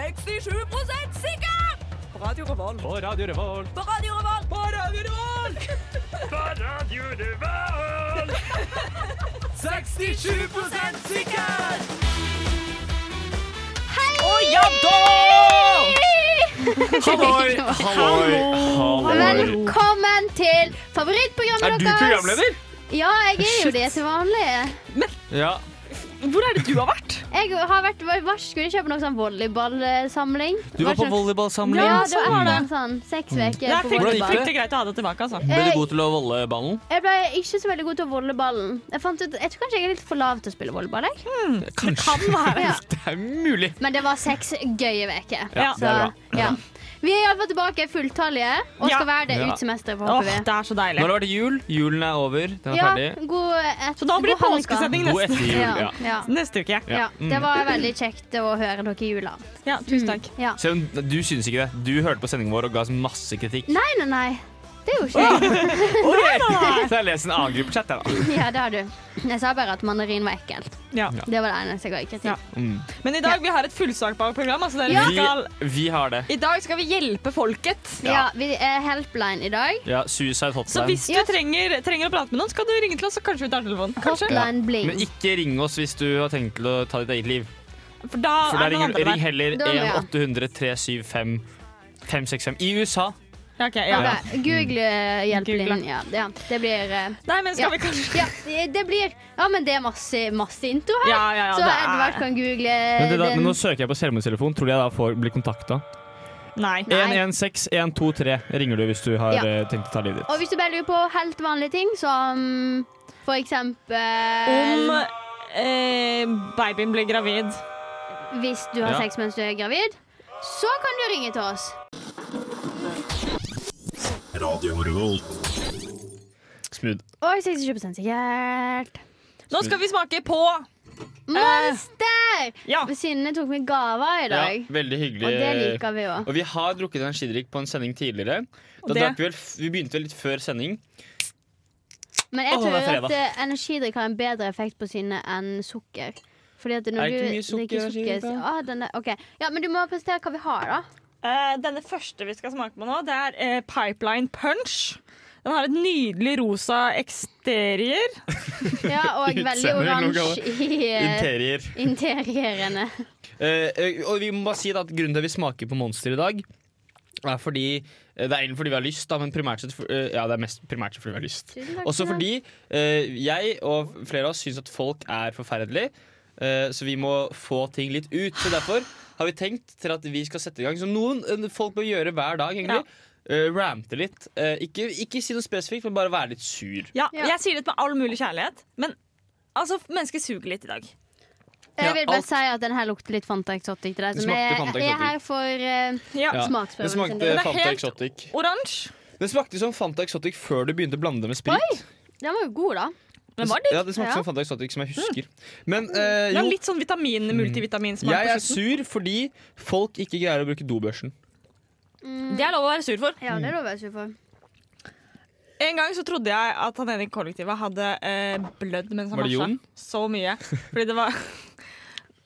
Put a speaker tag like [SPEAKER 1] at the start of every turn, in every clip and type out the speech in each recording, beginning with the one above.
[SPEAKER 1] 67 sikker! På Radio Revolt.
[SPEAKER 2] På Radio Revolt.
[SPEAKER 1] På Radio Revolt. På Radio Revolt!
[SPEAKER 2] 67
[SPEAKER 1] sikker!
[SPEAKER 2] Å ja da! Halloi, halloi, halloi.
[SPEAKER 3] Velkommen til favorittprogrammet
[SPEAKER 2] Er
[SPEAKER 3] deres.
[SPEAKER 2] du programleder?
[SPEAKER 3] Ja, jeg er jo
[SPEAKER 1] Shit.
[SPEAKER 3] det til vanlig.
[SPEAKER 2] Ja.
[SPEAKER 1] Hvor er det du har vært?
[SPEAKER 3] Jeg har vært var, var, skulle kjøpe noe sånn volleyballsamling.
[SPEAKER 2] Du var på
[SPEAKER 3] Hva slags-
[SPEAKER 2] volleyballsamling.
[SPEAKER 3] Ja, det var
[SPEAKER 2] Mm.
[SPEAKER 3] etter en sånn seks uker
[SPEAKER 1] Det er
[SPEAKER 3] på
[SPEAKER 1] fryktelig,
[SPEAKER 3] volleyball.
[SPEAKER 1] fryktelig greit å ha deg tilbake, altså.
[SPEAKER 2] Ble du god til å volle ballen?
[SPEAKER 3] Jeg ble ikke så veldig god til å volle ballen. Jeg fant ut, jeg tror kanskje jeg er litt for lav til å spille volleyball. Jeg.
[SPEAKER 2] Kanskje.
[SPEAKER 3] Ja.
[SPEAKER 2] Det er mulig.
[SPEAKER 3] Men det var seks gøye uker.
[SPEAKER 1] Ja.
[SPEAKER 2] det er bra.
[SPEAKER 3] ja. Vi er iallfall tilbake fulltallige og
[SPEAKER 1] Ja.
[SPEAKER 3] skal være det
[SPEAKER 2] Ja.
[SPEAKER 3] ut semesteret,
[SPEAKER 1] Åh,
[SPEAKER 3] håper vi.
[SPEAKER 1] det er så deilig.
[SPEAKER 2] Nå har det vært jul. Julen er over. Den er
[SPEAKER 3] Ja,
[SPEAKER 2] ferdig.
[SPEAKER 3] god et,
[SPEAKER 1] Så da blir det
[SPEAKER 3] god helga.
[SPEAKER 1] påskesending
[SPEAKER 2] God
[SPEAKER 1] neste,
[SPEAKER 2] etterjul.
[SPEAKER 3] Ja,
[SPEAKER 2] Ja.
[SPEAKER 3] ja.
[SPEAKER 1] neste uke.
[SPEAKER 3] Ja, det var veldig kjekt å høre dere i jula.
[SPEAKER 1] Ja, tusen takk.
[SPEAKER 3] Ja.
[SPEAKER 2] Selv om du syns ikke det. Du hørte på sendingen vår og ga oss masse kritikk.
[SPEAKER 3] Nei, nei, nei. Det er jo ikke det.
[SPEAKER 2] Så jeg leser en annen gruppe chat, jeg, da.
[SPEAKER 3] Ja, det har du. Jeg sa bare at mandarin var ekkelt.
[SPEAKER 1] Ja.
[SPEAKER 2] Ja.
[SPEAKER 3] Det var det eneste jeg ga i kritikk.
[SPEAKER 1] Ja. Men i dag vi har et fullsakbart program. Altså dere
[SPEAKER 2] Vi,
[SPEAKER 1] skal,
[SPEAKER 2] Mm. vi har det.
[SPEAKER 1] I dag skal vi hjelpe folket.
[SPEAKER 3] Ja. vi er helpline i dag.
[SPEAKER 2] Ja, Suicide
[SPEAKER 1] Så
[SPEAKER 2] Hotline.
[SPEAKER 1] hvis du
[SPEAKER 3] Ja.
[SPEAKER 1] trenger, trenger å prate med noen, skal du ringe til oss, så kanskje vi tar telefonen. Kanskje?
[SPEAKER 3] Hotline bling.
[SPEAKER 2] Men ikke ring oss hvis du har tenkt til å ta ditt eget liv.
[SPEAKER 1] For da
[SPEAKER 2] For da
[SPEAKER 1] er det noen
[SPEAKER 2] ringer,
[SPEAKER 1] andre
[SPEAKER 2] ring
[SPEAKER 1] der.
[SPEAKER 2] heller
[SPEAKER 3] Da må jeg.
[SPEAKER 2] 1-800-375-565 i USA.
[SPEAKER 1] Ja, ok, ja.
[SPEAKER 3] Ja. Google eh, hjelpelinjen.
[SPEAKER 1] Google.
[SPEAKER 3] Ja, det- ja, det blir eh,
[SPEAKER 1] Nei, men skal
[SPEAKER 3] Ja.
[SPEAKER 1] vi kanskje
[SPEAKER 3] Ja, det- det blir Ja, men det er masse, masse intro her.
[SPEAKER 1] Ja, ja, ja.
[SPEAKER 3] Så
[SPEAKER 1] det
[SPEAKER 3] Edvard
[SPEAKER 1] er...
[SPEAKER 3] kan google
[SPEAKER 2] Men, det da,
[SPEAKER 3] Eh, den.
[SPEAKER 2] men nå søker jeg på selvmordstelefon. Tror du jeg da får bli kontakta?
[SPEAKER 1] Nei.
[SPEAKER 3] Nei.
[SPEAKER 2] 116-123 ringer du hvis du har
[SPEAKER 3] Ja.
[SPEAKER 2] eh, tenkt å ta livet
[SPEAKER 3] Og
[SPEAKER 2] ditt.
[SPEAKER 3] hvis du bare lurer på helt vanlige ting, som for eksempel
[SPEAKER 1] Om eh, babyen blir gravid.
[SPEAKER 3] Hvis du har
[SPEAKER 2] Ja.
[SPEAKER 3] sex mens du er gravid, så kan du ringe til oss.
[SPEAKER 4] Radio Revolt.
[SPEAKER 2] Smooth.
[SPEAKER 3] Og 67 sikkert.
[SPEAKER 1] Nå skal vi smake på
[SPEAKER 3] Monster!
[SPEAKER 1] Ja.
[SPEAKER 3] Sinne tok med gaver i dag.
[SPEAKER 2] veldig hyggelig.
[SPEAKER 3] Og det liker vi òg.
[SPEAKER 2] Og vi har drukket en skidrikk på en sending tidligere. Da
[SPEAKER 1] Og det-
[SPEAKER 2] drakk vi, vel, f- vi begynte vel litt før sending.
[SPEAKER 3] Men jeg
[SPEAKER 2] Åh,
[SPEAKER 3] tror
[SPEAKER 2] det er fredag.
[SPEAKER 3] at eh, energidrikk har en bedre effekt på sinne enn sukker. Fordi at når
[SPEAKER 2] Er det ikke
[SPEAKER 3] du
[SPEAKER 2] mye sukker i
[SPEAKER 3] drikker
[SPEAKER 2] energidrikk,
[SPEAKER 3] så-
[SPEAKER 2] da?
[SPEAKER 3] ah, den der, ok. Ja, Men du må presentere hva vi har, da.
[SPEAKER 1] Eh, denne første vi skal smake på nå, det er eh, Pipeline Punch. Den har et nydelig rosa eksterier.
[SPEAKER 3] Ja, Og veldig
[SPEAKER 2] Utseendet,
[SPEAKER 3] oransje i eh,
[SPEAKER 2] Interier.
[SPEAKER 3] interiørene.
[SPEAKER 2] Eh, eh, og vi må bare si da at grunnen til at vi smaker på Monster i dag, er fordi eh, Det er egentlig fordi vi har lyst, da, men primært sett for, eh, Ja, det er mest primært sett fordi vi har lyst.
[SPEAKER 3] Tusen takk
[SPEAKER 2] Også
[SPEAKER 3] skal du ha.
[SPEAKER 2] fordi eh, jeg og flere av oss syns at folk er forferdelige, eh, så vi må få ting litt ut. Så derfor har vi tenkt til at vi skal sette i gang som noen eh, folk bør gjøre hver dag. egentlig. Eh, rante litt. Eh, ikke, ikke si noe spesifikt, men bare være litt sur.
[SPEAKER 1] Ja,
[SPEAKER 3] Ja.
[SPEAKER 1] Jeg sier dette med all mulig kjærlighet, men altså, mennesker suger litt i dag.
[SPEAKER 3] Jeg vil
[SPEAKER 2] Ja,
[SPEAKER 3] bare
[SPEAKER 2] alt.
[SPEAKER 3] si at den her lukter litt Fanta Exotic til deg.
[SPEAKER 2] Det
[SPEAKER 3] Som
[SPEAKER 2] smakte
[SPEAKER 3] er,
[SPEAKER 2] Fanta
[SPEAKER 3] er
[SPEAKER 2] Exotic.
[SPEAKER 3] her for eh,
[SPEAKER 1] Ja.
[SPEAKER 2] Ja. Det
[SPEAKER 3] smaksprøven sin
[SPEAKER 2] smakte
[SPEAKER 3] del.
[SPEAKER 1] er
[SPEAKER 2] Fanta
[SPEAKER 1] helt-
[SPEAKER 2] Exotic.
[SPEAKER 1] Oransje.
[SPEAKER 2] Det smakte som Fanta Exotic før du begynte å blande det med sprit.
[SPEAKER 3] Den var jo god, da.
[SPEAKER 1] Den var digg. Mm.
[SPEAKER 2] Ja, det smakte
[SPEAKER 3] Ja.
[SPEAKER 2] som Fanta Exotic, som jeg husker. Men eh,
[SPEAKER 1] Den har
[SPEAKER 2] jo, Mm.
[SPEAKER 1] litt sånn vitamin, multivitaminsmak.
[SPEAKER 2] jeg
[SPEAKER 1] på
[SPEAKER 2] er
[SPEAKER 1] slutten.
[SPEAKER 2] sur fordi folk ikke greier å bruke dobørsen.
[SPEAKER 1] Det er lov å være sur for.
[SPEAKER 3] Ja,
[SPEAKER 2] Mm.
[SPEAKER 3] det lover jeg ikke for.
[SPEAKER 1] En gang så trodde jeg at han ene i kollektivet hadde eh, blødd mens han
[SPEAKER 2] Var det
[SPEAKER 1] marsja.
[SPEAKER 2] Jon?
[SPEAKER 1] Så mye. Fordi det var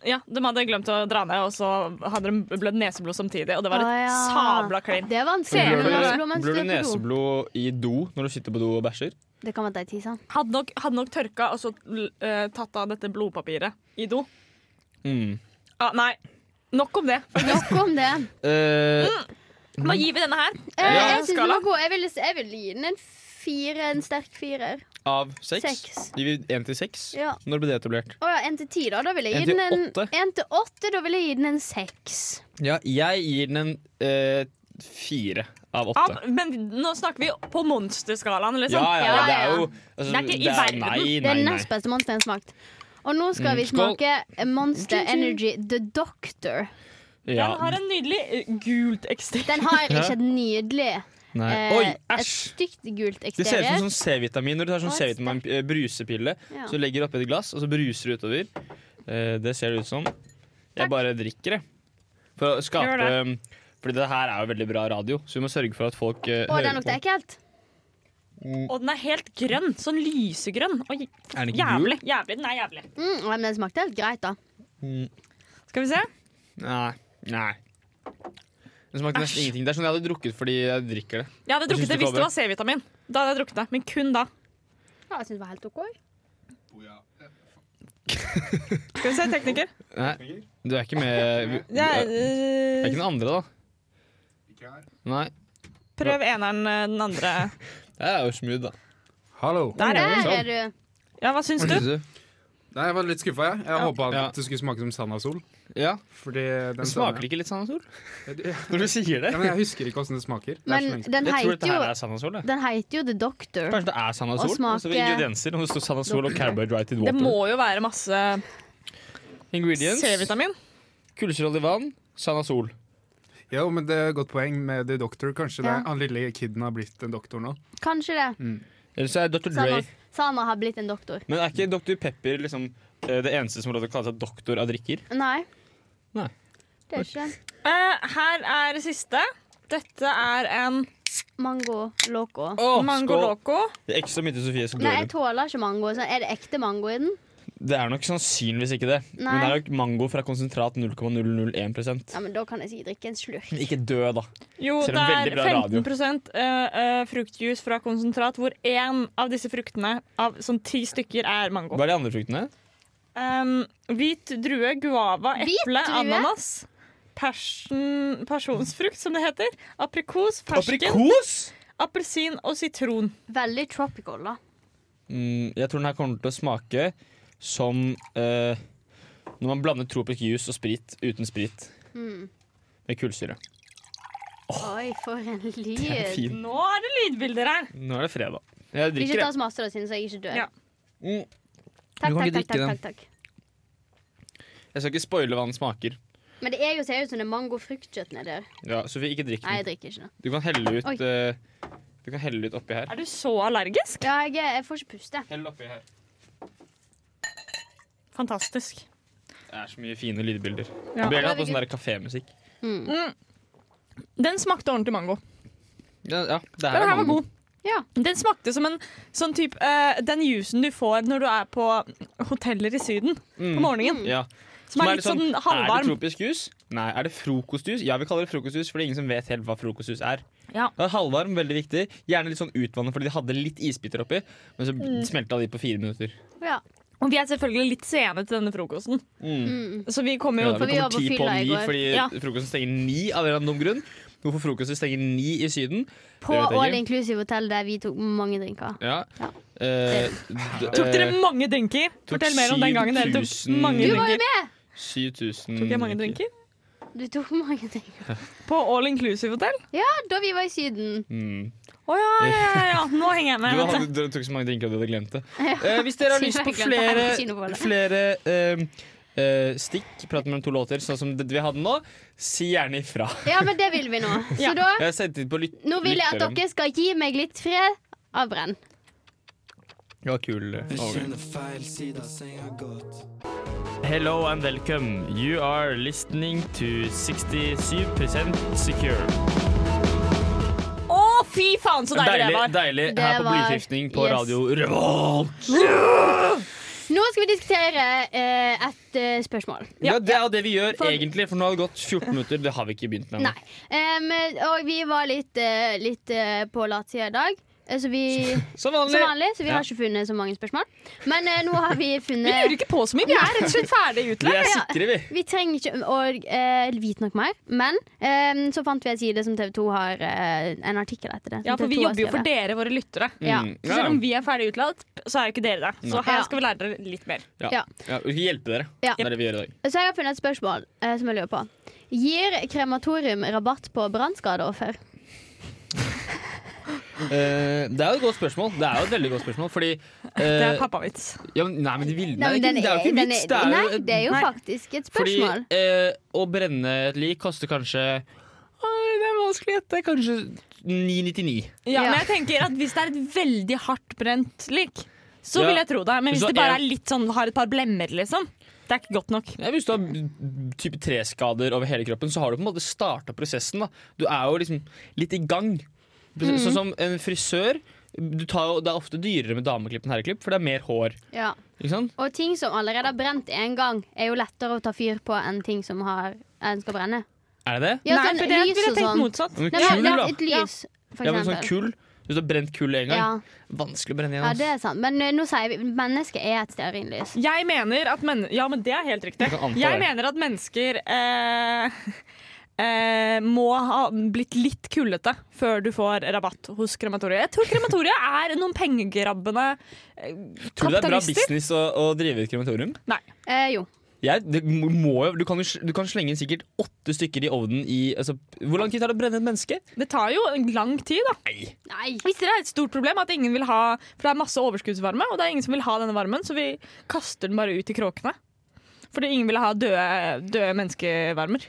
[SPEAKER 1] Ja, de hadde glemt å dra ned, og så hadde de blødd neseblod samtidig. Og det var et
[SPEAKER 3] Å, ja.
[SPEAKER 1] sabla kleint.
[SPEAKER 3] Det er vanskelig.
[SPEAKER 2] Blør
[SPEAKER 1] Ser du
[SPEAKER 3] men
[SPEAKER 2] du,
[SPEAKER 3] altså, blå mens
[SPEAKER 1] det?
[SPEAKER 2] blør du
[SPEAKER 3] du er på do.
[SPEAKER 2] neseblod i do når du sitter på do og bæsjer?
[SPEAKER 3] Det kan være deg tisa.
[SPEAKER 1] Hadde nok, hadde nok tørka og så eh, tatt av dette blodpapiret i do.
[SPEAKER 2] Mm.
[SPEAKER 1] Ah, nei, nok om det.
[SPEAKER 3] Nok om det.
[SPEAKER 2] Eh,
[SPEAKER 1] Hva gir vi denne her?
[SPEAKER 3] Eh,
[SPEAKER 2] Ja,
[SPEAKER 3] jeg synes den
[SPEAKER 1] skala.
[SPEAKER 3] var god. Jeg vil, jeg vil gi den en fire, en sterk firer.
[SPEAKER 2] av seks?
[SPEAKER 3] Seks.
[SPEAKER 2] Gir vi én til seks?
[SPEAKER 3] Ja.
[SPEAKER 2] Når ble det etablert?
[SPEAKER 3] Å ja, en til ti, da. Da vil jeg
[SPEAKER 2] En
[SPEAKER 3] gi den
[SPEAKER 2] til
[SPEAKER 3] en
[SPEAKER 2] åtte.
[SPEAKER 3] En til åtte, da vil jeg gi den en seks.
[SPEAKER 2] Ja, jeg gir den en eh, fire av
[SPEAKER 1] Av,
[SPEAKER 2] åtte.
[SPEAKER 1] men nå snakker vi på monsterskalaen,
[SPEAKER 2] Ja,
[SPEAKER 1] liksom.
[SPEAKER 2] ja, ja, det er
[SPEAKER 3] Ja, ja.
[SPEAKER 2] jo altså,
[SPEAKER 1] Det er ikke i verden.
[SPEAKER 2] Nei,
[SPEAKER 3] Det
[SPEAKER 2] nei,
[SPEAKER 3] er den
[SPEAKER 2] nei.
[SPEAKER 3] nest beste monsteren jeg har smakt. Og nå skal
[SPEAKER 2] Mm,
[SPEAKER 3] vi
[SPEAKER 2] skål.
[SPEAKER 3] smake Monster Energy The Doctor.
[SPEAKER 2] Ja,
[SPEAKER 1] Den har en nydelig eh, gult eksteriør.
[SPEAKER 3] Den har
[SPEAKER 2] Ja.
[SPEAKER 3] ikke et nydelig
[SPEAKER 2] nei.
[SPEAKER 3] eh,
[SPEAKER 2] Oi,
[SPEAKER 3] Et
[SPEAKER 2] æsj!
[SPEAKER 3] stygt gult
[SPEAKER 2] Det ser ut
[SPEAKER 3] eksteriør.
[SPEAKER 2] som sånn C-vitamin når du tar sånn
[SPEAKER 3] Å,
[SPEAKER 2] C-vitamin eh, brusepille.
[SPEAKER 3] Ja.
[SPEAKER 2] Så du legger oppi et glass, og så bruser du utover. Eh, det ser det ut som. Jeg
[SPEAKER 3] Takk.
[SPEAKER 2] bare drikker, jeg. For å skape
[SPEAKER 1] Gjør
[SPEAKER 2] Fordi det her er jo veldig bra radio, så vi må sørge for at folk eh,
[SPEAKER 3] Å, den
[SPEAKER 2] hører
[SPEAKER 3] lukter
[SPEAKER 2] på.
[SPEAKER 3] ekkelt.
[SPEAKER 1] Og den er helt grønn. Sånn lysegrønn. Oi,
[SPEAKER 2] Er den ikke gul?
[SPEAKER 1] jævlig. jævlig. Den er jævlig.
[SPEAKER 3] Mm, men den smakte helt greit, da.
[SPEAKER 1] Skal vi se.
[SPEAKER 2] Mm, Nei. Nei. Den smakte nesten
[SPEAKER 1] Æsj.
[SPEAKER 2] ingenting. Det er sånn jeg hadde drukket fordi jeg drikker det. Hva
[SPEAKER 1] Jeg hadde
[SPEAKER 2] syns
[SPEAKER 1] drukket det
[SPEAKER 2] du,
[SPEAKER 1] hvis
[SPEAKER 2] Tove?
[SPEAKER 1] det var C-vitamin. Da hadde jeg drukket det, men kun da.
[SPEAKER 3] Ja, jeg synes det var helt OK.
[SPEAKER 1] Skal vi se, tekniker.
[SPEAKER 2] Nei, du er ikke med du
[SPEAKER 1] Det
[SPEAKER 2] er,
[SPEAKER 1] er,
[SPEAKER 2] det er ikke den andre, da. Nei.
[SPEAKER 1] prøv eneren eh, den andre.
[SPEAKER 2] Det er jo smooth, da.
[SPEAKER 5] Hallo.
[SPEAKER 1] Der er
[SPEAKER 3] Der
[SPEAKER 1] vi.
[SPEAKER 2] sånn.
[SPEAKER 3] er du.
[SPEAKER 1] Ja, hva syns
[SPEAKER 2] Hva
[SPEAKER 1] du?
[SPEAKER 2] syns du?
[SPEAKER 5] Nei, jeg var litt skuffa, jeg. Jeg håpa
[SPEAKER 2] Ja.
[SPEAKER 5] at det skulle smake som sand og sol.
[SPEAKER 2] Ja,
[SPEAKER 5] Fordi den
[SPEAKER 2] men Smaker det ikke litt Sandasol?
[SPEAKER 5] ikke
[SPEAKER 2] Når du sier det?
[SPEAKER 5] ja, men Jeg husker ikke åssen det smaker. Det er så
[SPEAKER 3] Men
[SPEAKER 5] lenge siden.
[SPEAKER 3] den
[SPEAKER 2] Jeg tror
[SPEAKER 3] heter
[SPEAKER 2] dette
[SPEAKER 3] jo,
[SPEAKER 2] her er Sandasol. det.
[SPEAKER 3] den heter jo The Doctor.
[SPEAKER 2] Kanskje det er
[SPEAKER 3] Og
[SPEAKER 2] Sandasol?
[SPEAKER 3] smaker-
[SPEAKER 2] Og så ved Altså, ingredienser. Og det står Sandasol og carbohydrated
[SPEAKER 1] Det
[SPEAKER 2] water.
[SPEAKER 1] må jo være masse
[SPEAKER 2] Ingredients.
[SPEAKER 1] C-vitamin.
[SPEAKER 2] Kullsyreholdig vann. Sandasol.
[SPEAKER 5] Jo, men det er et godt poeng med The Doctor. Kanskje
[SPEAKER 3] Ja.
[SPEAKER 5] det, han lille kiden har blitt en doktor nå.
[SPEAKER 3] Kanskje det.
[SPEAKER 2] Eller så er Dr. Dre.
[SPEAKER 3] Sana, Sana har blitt en doktor.
[SPEAKER 2] Men er ikke Dr. Pepper liksom eh, det eneste som har lov til å kalle seg doktor av drikker?
[SPEAKER 3] Nei.
[SPEAKER 2] Nei.
[SPEAKER 3] Det er ikke det.
[SPEAKER 1] Eh, her er siste. Dette er en
[SPEAKER 3] Mango loco.
[SPEAKER 2] Oh,
[SPEAKER 1] mango loco.
[SPEAKER 2] Det er ekstra mye til Sofie som
[SPEAKER 3] Nei,
[SPEAKER 2] dør.
[SPEAKER 3] jeg tåler ikke mango. Så er det ekte mango i den?
[SPEAKER 2] Det er nok sannsynligvis ikke det. Men det
[SPEAKER 3] Nei.
[SPEAKER 2] er nok mango fra konsentrat 0,001
[SPEAKER 3] Ja, men Da kan jeg sikkert drikke en slurk.
[SPEAKER 2] Ikke dø, da.
[SPEAKER 1] Jo,
[SPEAKER 2] Ser
[SPEAKER 1] det
[SPEAKER 2] en
[SPEAKER 1] er
[SPEAKER 2] veldig bra radio.
[SPEAKER 1] 15 eh, eh, fruktjuice fra konsentrat, hvor én av disse fruktene, av sånn ti stykker, er mango.
[SPEAKER 2] Hva er de andre fruktene?
[SPEAKER 1] Um, hvit drue, guava,
[SPEAKER 3] Hvit
[SPEAKER 1] eple,
[SPEAKER 3] drue?
[SPEAKER 1] ananas. Persen, personsfrukt, som det heter. Aprikos, fersken,
[SPEAKER 2] Aprikos!
[SPEAKER 1] appelsin og sitron.
[SPEAKER 3] Veldig tropical, da.
[SPEAKER 2] Mm, jeg tror den her kommer til å smake som eh, når man blander tropisk juice og sprit uten sprit. Med kullsyre.
[SPEAKER 3] Hmm. Oi, for en
[SPEAKER 2] Det er
[SPEAKER 3] lyd.
[SPEAKER 2] fin.
[SPEAKER 1] Nå er det lydbilder her!
[SPEAKER 2] Nå er det fredag. Jeg
[SPEAKER 3] Ikke
[SPEAKER 2] drikker
[SPEAKER 3] ta
[SPEAKER 2] det.
[SPEAKER 3] så masse, da, siden så jeg ikke dør.
[SPEAKER 1] Ja.
[SPEAKER 2] Mm,
[SPEAKER 3] Takk,
[SPEAKER 2] Du kan
[SPEAKER 3] takk,
[SPEAKER 2] ikke
[SPEAKER 3] takk,
[SPEAKER 2] drikke
[SPEAKER 3] takk,
[SPEAKER 2] den.
[SPEAKER 3] takk, takk.
[SPEAKER 2] jeg skal ikke spoile hva den smaker.
[SPEAKER 3] Men det er jo ser ut som det er mango-fruktkjøtt nedi der.
[SPEAKER 2] Ja, Sofie, ikke drikk
[SPEAKER 3] Nei,
[SPEAKER 2] den.
[SPEAKER 3] jeg drikker ikke det.
[SPEAKER 2] Du kan helle ut,
[SPEAKER 3] Oi.
[SPEAKER 2] eh, du kan helle ut oppi her.
[SPEAKER 1] Er du så allergisk?
[SPEAKER 3] Ja, jeg, er- jeg får ikke puste.
[SPEAKER 2] Hell oppi her.
[SPEAKER 1] Fantastisk.
[SPEAKER 2] Det er så mye fine lydbilder.
[SPEAKER 1] Ja.
[SPEAKER 2] Ja. Burde hatt noe sånn der kafémusikk.
[SPEAKER 1] Den smakte ordentlig mango.
[SPEAKER 2] Ja, ja, det
[SPEAKER 1] Den her var god.
[SPEAKER 3] Ja.
[SPEAKER 1] Den smakte som en sånn type eh, Den juicen du får når du er på hoteller i Syden på morgenen.
[SPEAKER 2] Ja.
[SPEAKER 1] Mm. Som er litt sånn
[SPEAKER 2] Er det
[SPEAKER 1] halvvarm.
[SPEAKER 2] tropisk jus? Nei. Er det frokostjus? Ja, vi kaller det frokostjus, for det er ingen som vet helt hva frokostjus er.
[SPEAKER 1] Ja.
[SPEAKER 2] Det er halvvarm, veldig viktig. Gjerne litt sånn utvannet, fordi de hadde litt isbiter oppi, men så
[SPEAKER 1] Mm.
[SPEAKER 2] smelta de på fire minutter.
[SPEAKER 3] ja.
[SPEAKER 1] Og vi er selvfølgelig litt sene til denne frokosten,
[SPEAKER 2] Mm.
[SPEAKER 3] Hmm.
[SPEAKER 1] så vi kommer jo
[SPEAKER 2] Ja,
[SPEAKER 3] for
[SPEAKER 2] det
[SPEAKER 3] vi var
[SPEAKER 2] kommer
[SPEAKER 3] på
[SPEAKER 2] ti på
[SPEAKER 3] fylla i
[SPEAKER 2] ni,
[SPEAKER 3] går.
[SPEAKER 2] fordi
[SPEAKER 1] Ja.
[SPEAKER 2] frokosten stenger ni av en eller annen dum grunn. Hvorfor frokosten stenger ni i Syden?
[SPEAKER 3] På
[SPEAKER 2] Det vet jeg ikke.
[SPEAKER 3] All Inclusive Hotel, der vi tok mange drinker.
[SPEAKER 2] Ja.
[SPEAKER 3] Ja.
[SPEAKER 2] Eh, d-
[SPEAKER 1] Tok dere
[SPEAKER 2] eh,
[SPEAKER 1] mange drinker?
[SPEAKER 2] tok
[SPEAKER 1] Fortell mer om den gangen dere tok
[SPEAKER 2] 7000
[SPEAKER 1] mange
[SPEAKER 2] Du var
[SPEAKER 1] drinker. Tok
[SPEAKER 2] 7000
[SPEAKER 1] jeg mange drinker?
[SPEAKER 3] Du tok mange drinker.
[SPEAKER 1] På All Inclusive Hotel?
[SPEAKER 3] Ja, da vi var i Syden.
[SPEAKER 2] Mm.
[SPEAKER 1] Å ja, ja, ja, ja, nå henger
[SPEAKER 2] Du
[SPEAKER 1] jeg med.
[SPEAKER 2] hadde,
[SPEAKER 1] Vent, da.
[SPEAKER 2] du tok så mange drinker at du hadde glemt det. Eh, hvis dere har
[SPEAKER 3] Siden
[SPEAKER 2] lyst
[SPEAKER 3] jeg
[SPEAKER 2] på
[SPEAKER 3] glemte å hente
[SPEAKER 2] flere,
[SPEAKER 3] kinobollet.
[SPEAKER 2] flere eh, eh, stikk, prat mellom to låter, sånn som det vi hadde nå, si gjerne ifra.
[SPEAKER 3] Ja, men det vil vi nå. Så
[SPEAKER 1] Ja.
[SPEAKER 3] da
[SPEAKER 2] Jeg har sendt inn på lyt
[SPEAKER 3] Nå vil jeg at
[SPEAKER 2] lytteren.
[SPEAKER 3] dere skal gi meg litt fred av brenn.
[SPEAKER 2] Det var kul. eh,
[SPEAKER 6] Jeg
[SPEAKER 2] overgang.
[SPEAKER 6] kjenner feil side av senga godt.
[SPEAKER 2] Hello and welcome. You are listening to 67% secure.
[SPEAKER 1] Å, fy faen, så deilig det
[SPEAKER 2] Deilig,
[SPEAKER 1] var.
[SPEAKER 2] deilig
[SPEAKER 3] Det
[SPEAKER 2] her på
[SPEAKER 3] var-
[SPEAKER 2] Blyforgiftning på
[SPEAKER 3] yes.
[SPEAKER 2] radio Revolt.
[SPEAKER 3] Nå skal vi diskutere eh, et eh, spørsmål.
[SPEAKER 2] Ja, det er jo det vi gjør
[SPEAKER 3] For-
[SPEAKER 2] egentlig, for nå har det gått 14 minutter. Det har vi ikke begynt med.
[SPEAKER 3] Nei. Em, og vi var litt, eh, litt eh, på latsida i dag. eh, Så vi,
[SPEAKER 2] Som
[SPEAKER 3] som
[SPEAKER 2] vanlig.
[SPEAKER 3] vanlig, så vi
[SPEAKER 2] Ja.
[SPEAKER 3] har ikke funnet så mange spørsmål. Men eh, nå har vi
[SPEAKER 1] Vi lurer
[SPEAKER 3] funnet
[SPEAKER 1] ikke på så mye. Vi er rett og slett ferdig
[SPEAKER 2] Vi
[SPEAKER 1] utlært.
[SPEAKER 2] er
[SPEAKER 3] Ja.
[SPEAKER 2] sikre, vi.
[SPEAKER 3] Vi trenger ikke å eh, vite nok mer, men em, så fant vi en side som TV 2 har eh, en artikkel etter det. som
[SPEAKER 1] Ja, for
[SPEAKER 3] TV2
[SPEAKER 1] vi
[SPEAKER 3] har
[SPEAKER 1] jobber jo for
[SPEAKER 3] skrevet.
[SPEAKER 1] dere, våre lyttere.
[SPEAKER 3] Ja.
[SPEAKER 2] Mm.
[SPEAKER 1] Så selv om vi er ferdig utlært, så er jo ikke dere det. Så
[SPEAKER 3] Ja.
[SPEAKER 1] her skal vi lære dere litt mer.
[SPEAKER 2] Ja.
[SPEAKER 3] Ja.
[SPEAKER 2] Ja. vi skal hjelpe dere.
[SPEAKER 3] Ja.
[SPEAKER 2] Det er det vi gjør i dag.
[SPEAKER 3] Så jeg har funnet et spørsmål eh, som jeg lurer på. Gir krematorium rabatt på brannskadeoffer?
[SPEAKER 2] Eh, det er jo et godt spørsmål. Det er jo et veldig godt spørsmål, fordi eh,
[SPEAKER 1] Det er pappavits.
[SPEAKER 2] ja, men, Nei, men de vil,
[SPEAKER 3] Nei, men
[SPEAKER 2] det, er ikke-
[SPEAKER 3] den
[SPEAKER 2] det er jo ikke
[SPEAKER 3] den
[SPEAKER 2] vits.
[SPEAKER 3] er-
[SPEAKER 2] Det er jo
[SPEAKER 3] Nei,
[SPEAKER 2] et-
[SPEAKER 3] det er jo
[SPEAKER 1] Nei.
[SPEAKER 3] faktisk et
[SPEAKER 2] Fordi
[SPEAKER 3] spørsmål.
[SPEAKER 2] eh, å brenne et lik koster kanskje Oi, Det er vanskelig å gjette. Kanskje 999.
[SPEAKER 1] Ja,
[SPEAKER 3] Ja.
[SPEAKER 1] men jeg tenker at hvis det er et veldig hardt brent lik, så
[SPEAKER 2] Ja.
[SPEAKER 1] vil jeg tro det. Men
[SPEAKER 2] Hvis
[SPEAKER 1] hvis
[SPEAKER 2] det
[SPEAKER 1] det
[SPEAKER 2] er-
[SPEAKER 1] bare er litt sånn, har et par blemmer, liksom, det er ikke godt nok.
[SPEAKER 2] Ja, hvis du har mm, type 3-skader over hele kroppen, så har du på en måte starta prosessen. Da. Du er jo liksom litt i gang.
[SPEAKER 3] Mhm.
[SPEAKER 2] Sånn som en frisør. Du tar jo, det er ofte dyrere med dameklipp enn herreklipp, for det er mer hår.
[SPEAKER 3] Ja.
[SPEAKER 2] Ikke sant?
[SPEAKER 3] Og ting som allerede har brent én gang, er jo lettere å ta fyr på enn ting som har, en skal brenne.
[SPEAKER 2] Er det det?
[SPEAKER 3] Ja,
[SPEAKER 1] Nei,
[SPEAKER 3] sånn
[SPEAKER 1] for det
[SPEAKER 3] lys
[SPEAKER 1] ville jeg
[SPEAKER 3] og
[SPEAKER 1] tenkt
[SPEAKER 3] sånn.
[SPEAKER 1] motsatt.
[SPEAKER 2] Men
[SPEAKER 3] Nei,
[SPEAKER 2] kull,
[SPEAKER 3] men,
[SPEAKER 2] da.
[SPEAKER 3] et lys, for
[SPEAKER 2] Ja, men sånn
[SPEAKER 3] eksempel.
[SPEAKER 2] kull Hvis du har brent kull en gang.
[SPEAKER 3] Ja,
[SPEAKER 2] Vanskelig å brenne
[SPEAKER 3] ja,
[SPEAKER 2] igjen.
[SPEAKER 3] det
[SPEAKER 2] ass.
[SPEAKER 3] er sant. Men eh, nå sier vi mennesket er et stearinlys.
[SPEAKER 1] Jeg mener at men Ja, men det er helt riktig.
[SPEAKER 2] Jeg kan anta det.
[SPEAKER 1] Jeg mener at mennesker eh, eh, må ha blitt litt kullete før du får rabatt hos krematoriet. Jeg tror krematoriet er noen pengegrabbende eh,
[SPEAKER 2] Tror du det er bra
[SPEAKER 1] kapitalister.
[SPEAKER 2] business å, å drive et krematorium?
[SPEAKER 1] Nei.
[SPEAKER 3] Eh, jo.
[SPEAKER 2] Jeg, det må, jo- du, kan, jo sl- du kan slenge inn sikkert åtte stykker i ovnen i altså, Hvor lang tid tar det å brenne et menneske?
[SPEAKER 1] Det tar jo lang tid, da.
[SPEAKER 2] Nei.
[SPEAKER 3] Nei.
[SPEAKER 1] Hvis det er et stort problem at ingen vil ha For det er masse overskuddsvarme, og det er ingen som vil ha denne varmen, så vi kaster den bare ut i kråkene. Fordi ingen vil ha døde, døde menneskevarmer.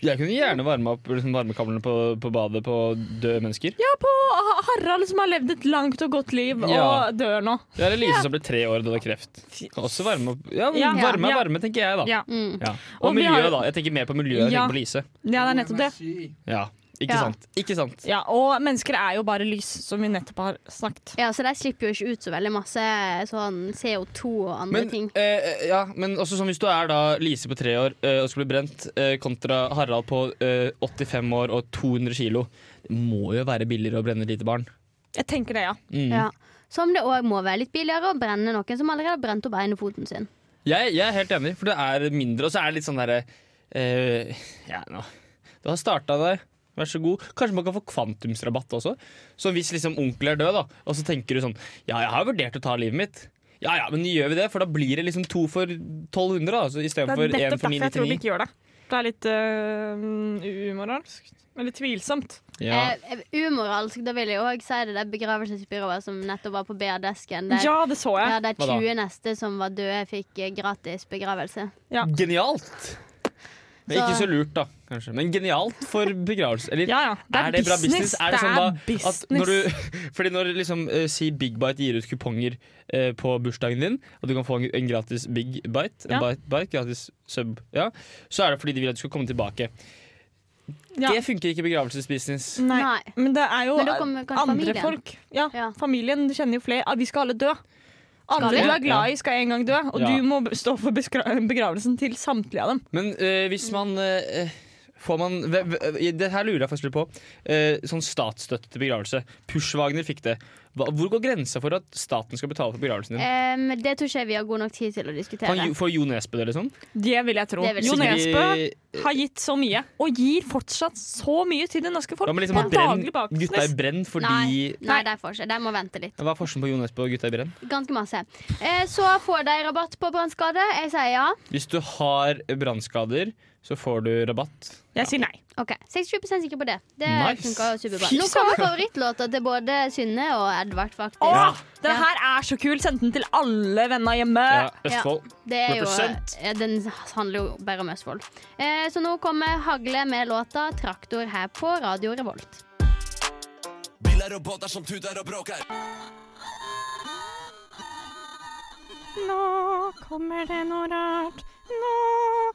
[SPEAKER 2] Jeg kunne gjerne varme opp liksom, varmekablene på, på badet på døde mennesker.
[SPEAKER 1] Ja, på Ha- Harald som har levd et langt og godt liv
[SPEAKER 2] Ja.
[SPEAKER 1] og dør nå.
[SPEAKER 2] Det er Elise som ble tre år da det var kreft. Kan også varme opp Ja, men
[SPEAKER 1] Ja.
[SPEAKER 2] varme er
[SPEAKER 1] Ja.
[SPEAKER 2] varme, tenker jeg, da.
[SPEAKER 1] Ja.
[SPEAKER 3] Mm.
[SPEAKER 2] Ja.
[SPEAKER 1] Og
[SPEAKER 2] Og
[SPEAKER 1] vi har-
[SPEAKER 2] miljøet, da. Jeg tenker mer på miljøet enn
[SPEAKER 1] Ja.
[SPEAKER 2] på Lise.
[SPEAKER 1] Ja, det er nettopp det.
[SPEAKER 2] Ja. Ikke
[SPEAKER 3] Ja.
[SPEAKER 2] sant. Ikke sant.
[SPEAKER 1] Ja, og mennesker er jo bare lys, som vi nettopp har snakket.
[SPEAKER 3] Ja, så de slipper jo ikke ut så veldig masse sånn CO2 og andre
[SPEAKER 2] Men,
[SPEAKER 3] ting.
[SPEAKER 2] eh, ja, men også sånn hvis du er da Lise på tre år eh, og skal bli brent, eh, kontra Harald på eh, 85 år og 200 kilo. Det må jo være billigere å brenne et lite barn.
[SPEAKER 1] Jeg tenker det, ja.
[SPEAKER 2] Mm.
[SPEAKER 3] Ja. Som det òg må være litt billigere å brenne noen som allerede har brent opp ene foten sin.
[SPEAKER 2] Jeg, jeg er helt enig, for det er mindre. Og så er det litt sånn derre eh, Ja, nå Du har starta der. Vær så god. Kanskje man kan få kvantumsrabatt også. Så hvis liksom onkel er død, da, og så tenker du sånn Ja, jeg har vurdert å ta livet mitt. Ja ja, men gjør vi det? For da blir det liksom to for 1200, da. Så
[SPEAKER 1] Det er
[SPEAKER 2] istedenfor én
[SPEAKER 1] nettopp
[SPEAKER 2] for
[SPEAKER 1] derfor jeg tror
[SPEAKER 2] 999.
[SPEAKER 1] vi ikke gjør det. Det er litt øh, umoralsk. Eller tvilsomt.
[SPEAKER 2] Ja.
[SPEAKER 3] Eh, umoralsk, da vil jeg òg si det der begravelsesbyrået som nettopp var på BR-desken. Der,
[SPEAKER 1] Ja, det så jeg.
[SPEAKER 3] der de
[SPEAKER 2] Hva da?
[SPEAKER 3] 20 neste som var døde, fikk eh, gratis begravelse.
[SPEAKER 1] Ja.
[SPEAKER 2] Genialt! Men
[SPEAKER 3] Så-
[SPEAKER 2] ikke så lurt, da, kanskje. Men genialt for begravelse. Eller
[SPEAKER 1] Ja, ja. Det er,
[SPEAKER 2] er det bra business?
[SPEAKER 1] business.
[SPEAKER 2] Er det,
[SPEAKER 1] Det
[SPEAKER 2] sånn
[SPEAKER 1] er
[SPEAKER 2] da at
[SPEAKER 1] business.
[SPEAKER 2] når du, Fordi når liksom eh, si Big Bite gir ut kuponger eh, på bursdagen din, og du kan få en, en gratis Big Bite, en
[SPEAKER 1] Ja.
[SPEAKER 2] bite, bite, gratis sub, ja, så er det fordi de vil at du skal komme tilbake.
[SPEAKER 1] Ja.
[SPEAKER 2] Det funker ikke i begravelsesbusiness.
[SPEAKER 1] Nei.
[SPEAKER 3] Nei.
[SPEAKER 1] Men det er jo
[SPEAKER 3] Men da kommer kanskje
[SPEAKER 1] andre
[SPEAKER 3] familien.
[SPEAKER 1] folk. Ja,
[SPEAKER 3] Ja.
[SPEAKER 1] Familien du kjenner jo flere. Ah, vi skal alle dø. Alle
[SPEAKER 3] vi?
[SPEAKER 1] du er glad i, skal en gang dø. Og
[SPEAKER 2] Ja.
[SPEAKER 1] du må b- stå for beskra- begravelsen til samtlige av dem.
[SPEAKER 2] Men eh, hvis man eh, Får man ve- ve- Det her lurer jeg faktisk litt på. Eh, sånn statsstøtte til begravelse. Pushwagner fikk det. Hva, hvor går grensa for at staten skal betale for begravelsen
[SPEAKER 1] Eh,
[SPEAKER 2] din?
[SPEAKER 3] Em, Eh, det tror ikke jeg vi har god nok tid til å
[SPEAKER 2] Kan,
[SPEAKER 3] diskutere.
[SPEAKER 2] Jo- får Jo Nesbø det, liksom?
[SPEAKER 1] Det vil jeg tro.
[SPEAKER 3] Det vil jeg
[SPEAKER 1] Jo
[SPEAKER 3] tro.
[SPEAKER 1] Nesbø
[SPEAKER 2] Sigrid-
[SPEAKER 1] har gitt så mye, og gir fortsatt så mye til det norske folk.
[SPEAKER 2] Ja, men liksom
[SPEAKER 1] på
[SPEAKER 2] brenn,
[SPEAKER 1] daglig basis.
[SPEAKER 2] gutta i brenn fordi
[SPEAKER 3] Nei, nei, de får ikke. De må vente litt.
[SPEAKER 2] Hva er forskjellen på Jo Nesbø og gutta i brenn?
[SPEAKER 3] Ganske masse. Eh, så får de rabatt på brannskade. Jeg sier ja.
[SPEAKER 2] Hvis du har brannskader, så får du rabatt.
[SPEAKER 1] Jeg sier nei.
[SPEAKER 3] Ok, 67 sikker på det. Det
[SPEAKER 2] Nice.
[SPEAKER 3] funker superbra.
[SPEAKER 2] Fy
[SPEAKER 3] Nå kommer favorittlåta til både Synne og Edvard, faktisk.
[SPEAKER 1] Åh, den
[SPEAKER 3] Ja.
[SPEAKER 1] her er så kul! Send den til alle venner hjemme.
[SPEAKER 2] Ja,
[SPEAKER 3] eh, Ja.
[SPEAKER 2] Østfold.
[SPEAKER 3] Det er jo,
[SPEAKER 2] represent.
[SPEAKER 3] ja, den handler jo bare om Østfold. Eh, så nå kommer Hagle med låta 'Traktor' her på Radio Revolt.
[SPEAKER 6] Biler og båter som tuter og bråker.
[SPEAKER 1] Nå kommer det noe rart. Nå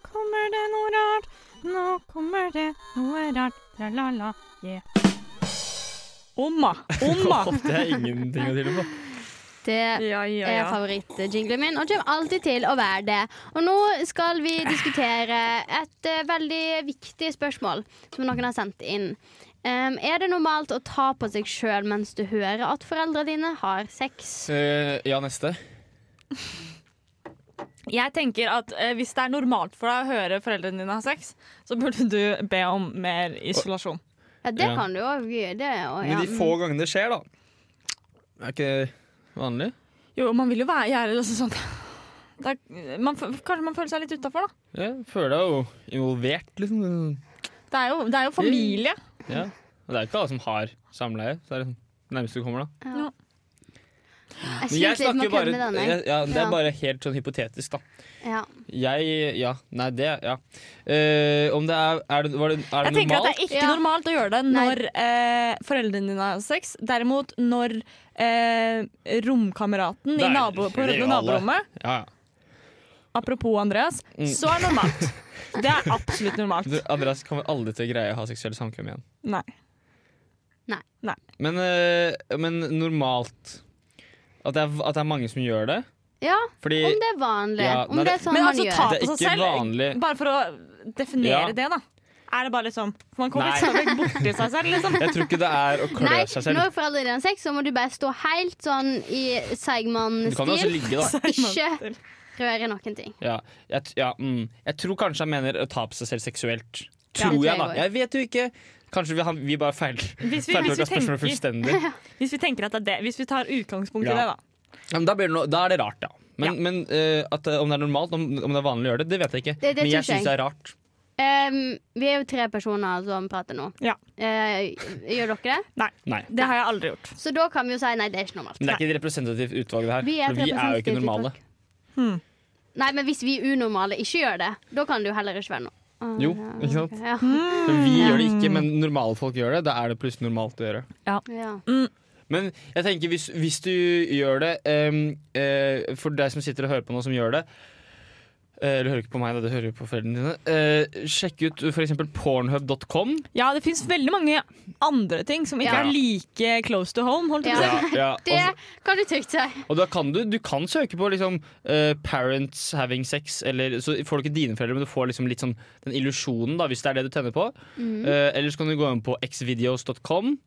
[SPEAKER 1] kommer det noe rart. Nå kommer det noe rart. Tra-la-la, yeah. Omma, omma.
[SPEAKER 2] Det er ingenting å tvile på.
[SPEAKER 3] Det
[SPEAKER 1] Ja, ja,
[SPEAKER 3] er
[SPEAKER 1] ja.
[SPEAKER 3] favorittjinglen min, og kommer alltid til å være det. Og nå skal vi
[SPEAKER 1] Eh.
[SPEAKER 3] diskutere et eh, veldig viktig spørsmål som noen har sendt inn. Em, er det normalt å ta på seg sjøl mens du hører at foreldrene dine har sex?
[SPEAKER 2] Eh, ja, neste.
[SPEAKER 1] Jeg tenker at eh, Hvis det er normalt for deg å høre foreldrene dine ha sex, så burde du be om mer isolasjon.
[SPEAKER 3] Ja, det
[SPEAKER 2] Ja.
[SPEAKER 3] kan du òg.
[SPEAKER 2] Men de
[SPEAKER 3] Mm.
[SPEAKER 2] få gangene det skjer, da. Er ikke det vanlig?
[SPEAKER 1] Jo, man vil jo være gjerde og sånn. Det er, man, f- kanskje man føler seg litt utafor, da.
[SPEAKER 2] Jeg føler deg jo involvert, liksom.
[SPEAKER 1] Det er, jo, det er jo familie.
[SPEAKER 2] Ja. Og det er ikke alle som har samleie. Så det er det nærmeste du kommer, da.
[SPEAKER 3] Jeg
[SPEAKER 2] Men jeg
[SPEAKER 3] sliter litt
[SPEAKER 2] snakker
[SPEAKER 3] med
[SPEAKER 2] jo
[SPEAKER 3] å
[SPEAKER 2] bare
[SPEAKER 3] klemme den.
[SPEAKER 2] jeg,
[SPEAKER 3] jeg.
[SPEAKER 2] ja, Det
[SPEAKER 3] Ja.
[SPEAKER 2] er bare helt sånn hypotetisk, da.
[SPEAKER 3] Ja.
[SPEAKER 2] Jeg Ja. Nei, det Ja. Eh, om det er, er det, var det, er det
[SPEAKER 1] Jeg tenker
[SPEAKER 2] normalt?
[SPEAKER 1] at det er ikke
[SPEAKER 3] Ja.
[SPEAKER 1] normalt å gjøre det
[SPEAKER 3] Nei.
[SPEAKER 1] når eh, foreldrene dine har sex. Derimot når eh, romkameraten
[SPEAKER 2] Det
[SPEAKER 1] i
[SPEAKER 2] er-
[SPEAKER 1] nabo, på
[SPEAKER 2] det gjør
[SPEAKER 1] naborommet
[SPEAKER 2] Ja, ja.
[SPEAKER 1] Apropos Andreas,
[SPEAKER 2] Mm.
[SPEAKER 1] så er det normalt. Det er absolutt normalt.
[SPEAKER 2] Du, Andreas kommer aldri til å greie å ha seksuelle samkvem igjen.
[SPEAKER 1] Nei.
[SPEAKER 2] Men, øh, men normalt at det, er, at det er mange som gjør det.
[SPEAKER 3] ja,
[SPEAKER 2] Fordi
[SPEAKER 3] om det er vanlig.
[SPEAKER 2] Ja,
[SPEAKER 3] om
[SPEAKER 2] nei,
[SPEAKER 3] det er sånn
[SPEAKER 1] Men
[SPEAKER 3] man
[SPEAKER 1] altså,
[SPEAKER 3] gjør.
[SPEAKER 1] ta
[SPEAKER 2] Det er
[SPEAKER 1] på seg
[SPEAKER 2] ikke
[SPEAKER 1] selv,
[SPEAKER 2] vanlig.
[SPEAKER 1] bare for å definere
[SPEAKER 2] Ja.
[SPEAKER 1] det, da. er det bare liksom Man kommer
[SPEAKER 2] Nei.
[SPEAKER 1] stadig borti seg selv, liksom.
[SPEAKER 2] Jeg tror ikke det er å klø
[SPEAKER 3] Nei,
[SPEAKER 2] seg selv.
[SPEAKER 3] når foreldrene dine har sex, så må du bare stå helt sånn i
[SPEAKER 2] Du kan jo også
[SPEAKER 3] seigmann-stil.
[SPEAKER 2] ligge, da.
[SPEAKER 3] Ikke røre noen ting.
[SPEAKER 2] Ja, jeg, t- ja, mm. jeg tror kanskje han mener å ta på seg selv seksuelt.
[SPEAKER 3] Ja,
[SPEAKER 2] Tror
[SPEAKER 3] det
[SPEAKER 2] jeg,
[SPEAKER 3] tror
[SPEAKER 2] da.
[SPEAKER 3] jeg også.
[SPEAKER 2] Jeg vet jo ikke. Kanskje vi, han, vi bare feil,
[SPEAKER 1] Hvis vi, hvis,
[SPEAKER 2] feiltolka
[SPEAKER 1] vi
[SPEAKER 2] spørsmålet
[SPEAKER 1] tenker,
[SPEAKER 2] fullstendig.
[SPEAKER 1] hvis vi tenker at det er det Hvis vi tar utgangspunkt i det,
[SPEAKER 2] Ja.
[SPEAKER 1] da.
[SPEAKER 2] Ja, men da, blir det noe, da er det rart, ja. Men, men eh, at, eh, om det er normalt, om, om det er vanlig å gjøre det, det vet jeg ikke.
[SPEAKER 3] Det- det
[SPEAKER 2] men jeg
[SPEAKER 3] tror ikke jeg.
[SPEAKER 2] syns det er rart.
[SPEAKER 3] Ehm, vi er jo tre personer som prater nå.
[SPEAKER 1] Ja.
[SPEAKER 3] Eh, gjør dere det?
[SPEAKER 2] Nei.
[SPEAKER 1] Det har jeg aldri gjort.
[SPEAKER 3] Så da kan vi jo si nei, det er ikke normalt.
[SPEAKER 2] Men det er ikke et representativt utvalg, det her.
[SPEAKER 3] Vi er et
[SPEAKER 2] For vi er jo ikke
[SPEAKER 3] representativt
[SPEAKER 2] normale. Hmm.
[SPEAKER 3] Nei, men hvis vi unormale ikke gjør det, da kan det jo heller ikke være noe. Ah,
[SPEAKER 2] Jo, Hmm.
[SPEAKER 3] ja,
[SPEAKER 2] ikke sant?
[SPEAKER 3] ok, Ja.
[SPEAKER 2] Vi gjør det ikke, men normale folk gjør det. Da er det plutselig normalt å gjøre.
[SPEAKER 3] Ja.
[SPEAKER 2] Men jeg tenker hvis, hvis du gjør det ehm, eh, For deg som sitter og hører på nå som gjør det eh, Du hører ikke på meg, da, du hører jo på foreldrene dine. eh, sjekk ut f.eks. pornhub.com.
[SPEAKER 1] Ja, det fins veldig mange andre ting som ikke
[SPEAKER 3] Ja.
[SPEAKER 1] er like close to home. Holdt jeg på å si.
[SPEAKER 3] Ja. Det
[SPEAKER 2] Og,
[SPEAKER 3] kan du trygt si.
[SPEAKER 2] og da kan du, du kan søke på liksom, eh, 'parents having sex', eller, så får du ikke dine foreldre, men du får liksom litt sånn den illusjonen, da, hvis det er det du tenner på.
[SPEAKER 1] Mm.
[SPEAKER 3] Mhm.
[SPEAKER 2] Eh, eller så kan du gå inn på xvideos.com.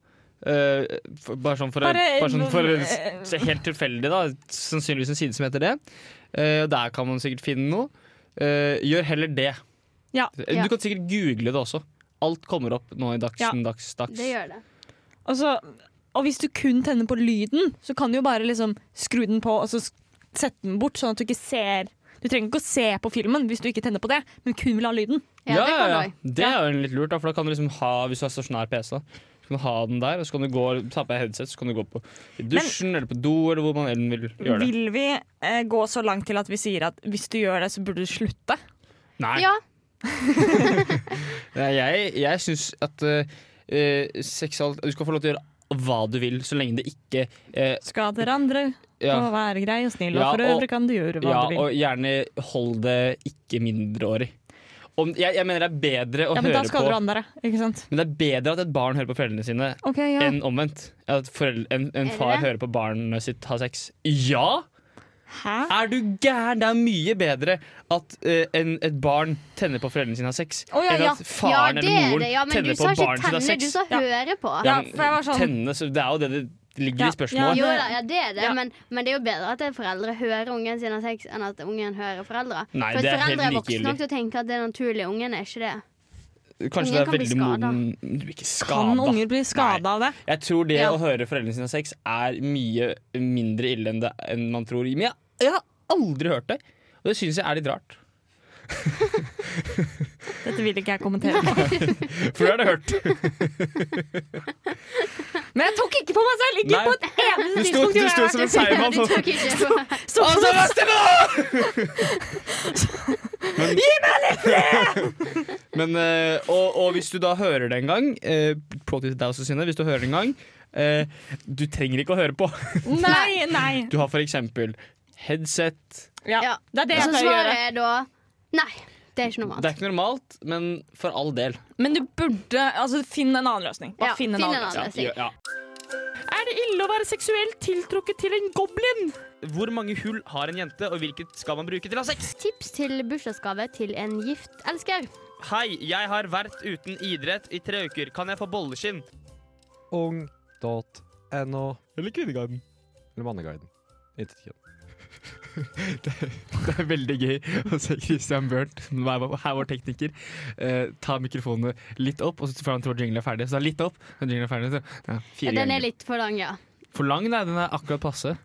[SPEAKER 2] eh, for- bare sånn for,
[SPEAKER 1] Bare-
[SPEAKER 2] bare sånn for så helt tilfeldig, da. Sannsynligvis en side som heter det. Eh, der kan man sikkert finne noe. Eh, gjør heller det.
[SPEAKER 1] Ja.
[SPEAKER 2] Du kan sikkert google det også. Alt kommer opp nå i dagsen, dags, dags.
[SPEAKER 3] Det gjør det.
[SPEAKER 1] Og, så, Altså, og hvis du kun tenner på lyden, så kan du jo bare liksom skru den på og så s- sette den bort, sånn at du ikke ser Du trenger ikke å se på filmen hvis du ikke tenner på det, men kun vil ha lyden.
[SPEAKER 3] Ja, det kan du òg.
[SPEAKER 2] Det er jo litt lurt, da, for da kan du liksom ha, hvis du har stasjonær PC, da, så kan du ha den der, og så kan du gå, ta på deg headset, så kan du gå på i dusjen eller på do, eller hvor man enn vil gjøre det.
[SPEAKER 1] Vil vi eh, gå så langt til at vi sier at hvis du gjør det, så burde du slutte?
[SPEAKER 2] Nei,
[SPEAKER 3] Ja,
[SPEAKER 2] Nei, jeg, jeg syns at eh, eh, seksual- Du skal få lov til å gjøre hva du vil, så lenge det ikke eh,
[SPEAKER 1] Skader andre
[SPEAKER 2] ja,
[SPEAKER 1] og være grei og snill,
[SPEAKER 2] Ja,
[SPEAKER 1] og for
[SPEAKER 2] og-
[SPEAKER 1] øvrig kan du gjøre hva
[SPEAKER 2] ja,
[SPEAKER 1] du vil.
[SPEAKER 2] og gjerne hold det ikke mindreårig. Om, jeg, jeg mener det er bedre å
[SPEAKER 1] ja, men da
[SPEAKER 2] høre på
[SPEAKER 1] skader du andre, ikke sant?
[SPEAKER 2] Men det er bedre at et barn hører på foreldrene sine
[SPEAKER 1] Ok, ja.
[SPEAKER 2] enn omvendt. At forel- en,
[SPEAKER 3] Er
[SPEAKER 2] en
[SPEAKER 3] det
[SPEAKER 2] far
[SPEAKER 3] det?
[SPEAKER 2] hører på barnet sitt ha sex. Ja!
[SPEAKER 1] Hæ?
[SPEAKER 2] Er du gæren? Det er mye bedre at eh, en, et barn tenner på foreldrene sine har sex,
[SPEAKER 1] Å, ja,
[SPEAKER 2] enn
[SPEAKER 1] ja.
[SPEAKER 2] at
[SPEAKER 3] ja
[SPEAKER 2] faren
[SPEAKER 3] det
[SPEAKER 2] eller
[SPEAKER 3] er
[SPEAKER 2] moren
[SPEAKER 3] det. Ja, men du
[SPEAKER 2] tenner
[SPEAKER 3] sa
[SPEAKER 2] på
[SPEAKER 3] ikke
[SPEAKER 2] barnet sitt
[SPEAKER 3] tenne,
[SPEAKER 2] har
[SPEAKER 3] du
[SPEAKER 2] sex.
[SPEAKER 3] sa
[SPEAKER 1] Ja.
[SPEAKER 3] høre på.
[SPEAKER 1] Ja,
[SPEAKER 2] Ja, men
[SPEAKER 1] for jeg var sånn-
[SPEAKER 2] tenne, så det er jo det det ligger
[SPEAKER 1] Ja,
[SPEAKER 2] i spørsmålet.
[SPEAKER 1] ja,
[SPEAKER 3] Jo da, ja, det er det,
[SPEAKER 1] Ja.
[SPEAKER 3] men, men det er jo bedre at foreldre hører ungen sin ha sex, enn at ungen hører foreldre.
[SPEAKER 2] Nei,
[SPEAKER 3] For
[SPEAKER 2] det er helt
[SPEAKER 3] foreldre er voksne
[SPEAKER 2] likegyldig.
[SPEAKER 3] nok til å tenke at det er naturlig. Ungen er ikke det.
[SPEAKER 2] Kanskje det
[SPEAKER 3] Ungen
[SPEAKER 2] er
[SPEAKER 3] kan bli
[SPEAKER 2] veldig
[SPEAKER 3] skada.
[SPEAKER 2] moden Du blir ikke
[SPEAKER 1] Kan
[SPEAKER 2] skada.
[SPEAKER 1] unger bli skada av det?
[SPEAKER 2] Jeg tror det
[SPEAKER 1] Ja.
[SPEAKER 2] å høre foreldrene sine ha sex er mye mindre ille enn, det, enn man tror. Men jeg, jeg har aldri hørt det, og det syns jeg er litt rart.
[SPEAKER 1] Dette vil ikke jeg kommentere.
[SPEAKER 2] For det har jeg hørt.
[SPEAKER 1] Men jeg tok ikke på meg selv! Ikke
[SPEAKER 2] Nei.
[SPEAKER 1] på et eneste
[SPEAKER 2] Du sto,
[SPEAKER 1] tidspunkt!
[SPEAKER 2] du
[SPEAKER 1] jeg
[SPEAKER 2] sto
[SPEAKER 1] har
[SPEAKER 2] som en
[SPEAKER 1] vært-
[SPEAKER 2] seigmann
[SPEAKER 3] Du
[SPEAKER 2] sånn.
[SPEAKER 3] tok ikke på.
[SPEAKER 1] Så-
[SPEAKER 2] Og så var stille nå! Gi meg litt fred! Men, eh, og, og hvis du da hører det en gang, eh, plot twist til deg også, Synne, hvis du hører det en gang, eh, du trenger ikke å høre på.
[SPEAKER 1] Nei, nei.
[SPEAKER 2] Du har for eksempel headset.
[SPEAKER 1] Ja.
[SPEAKER 3] Ja.
[SPEAKER 1] Det er det jeg
[SPEAKER 3] Så
[SPEAKER 1] pleier å gjøre.
[SPEAKER 3] svaret er da nei. Det er ikke
[SPEAKER 2] Det
[SPEAKER 3] normalt.
[SPEAKER 2] er ikke normalt, men for all del.
[SPEAKER 1] Men du burde altså, Finn en annen løsning. Bare
[SPEAKER 3] Ja,
[SPEAKER 1] finn en annen løsning.
[SPEAKER 3] løsning.
[SPEAKER 2] Ja.
[SPEAKER 1] Er det ille å være seksuelt tiltrukket til en goblin?
[SPEAKER 2] Hvor mange hull har en jente, og hvilket skal man bruke til å ha sex?
[SPEAKER 3] Tips til bursdagsgave til en gift elsker.
[SPEAKER 2] Hei, jeg har vært uten idrett i tre uker. Kan jeg få bolleskinn?
[SPEAKER 7] ung.no
[SPEAKER 2] Eller Kvinneguiden.
[SPEAKER 7] eller Manneguiden. Intet kjønn.
[SPEAKER 2] Det er veldig gøy å se Christian Børnt, som er vår- er vår tekniker, eh, ta mikrofonene litt opp, og så får han tro at jinglen er ferdig. Så det er litt opp, når jinglen er ferdig, så ja, fire
[SPEAKER 3] Den er
[SPEAKER 2] ganger.
[SPEAKER 3] litt for lang, ja.
[SPEAKER 2] For lang, nei. Den er akkurat passe.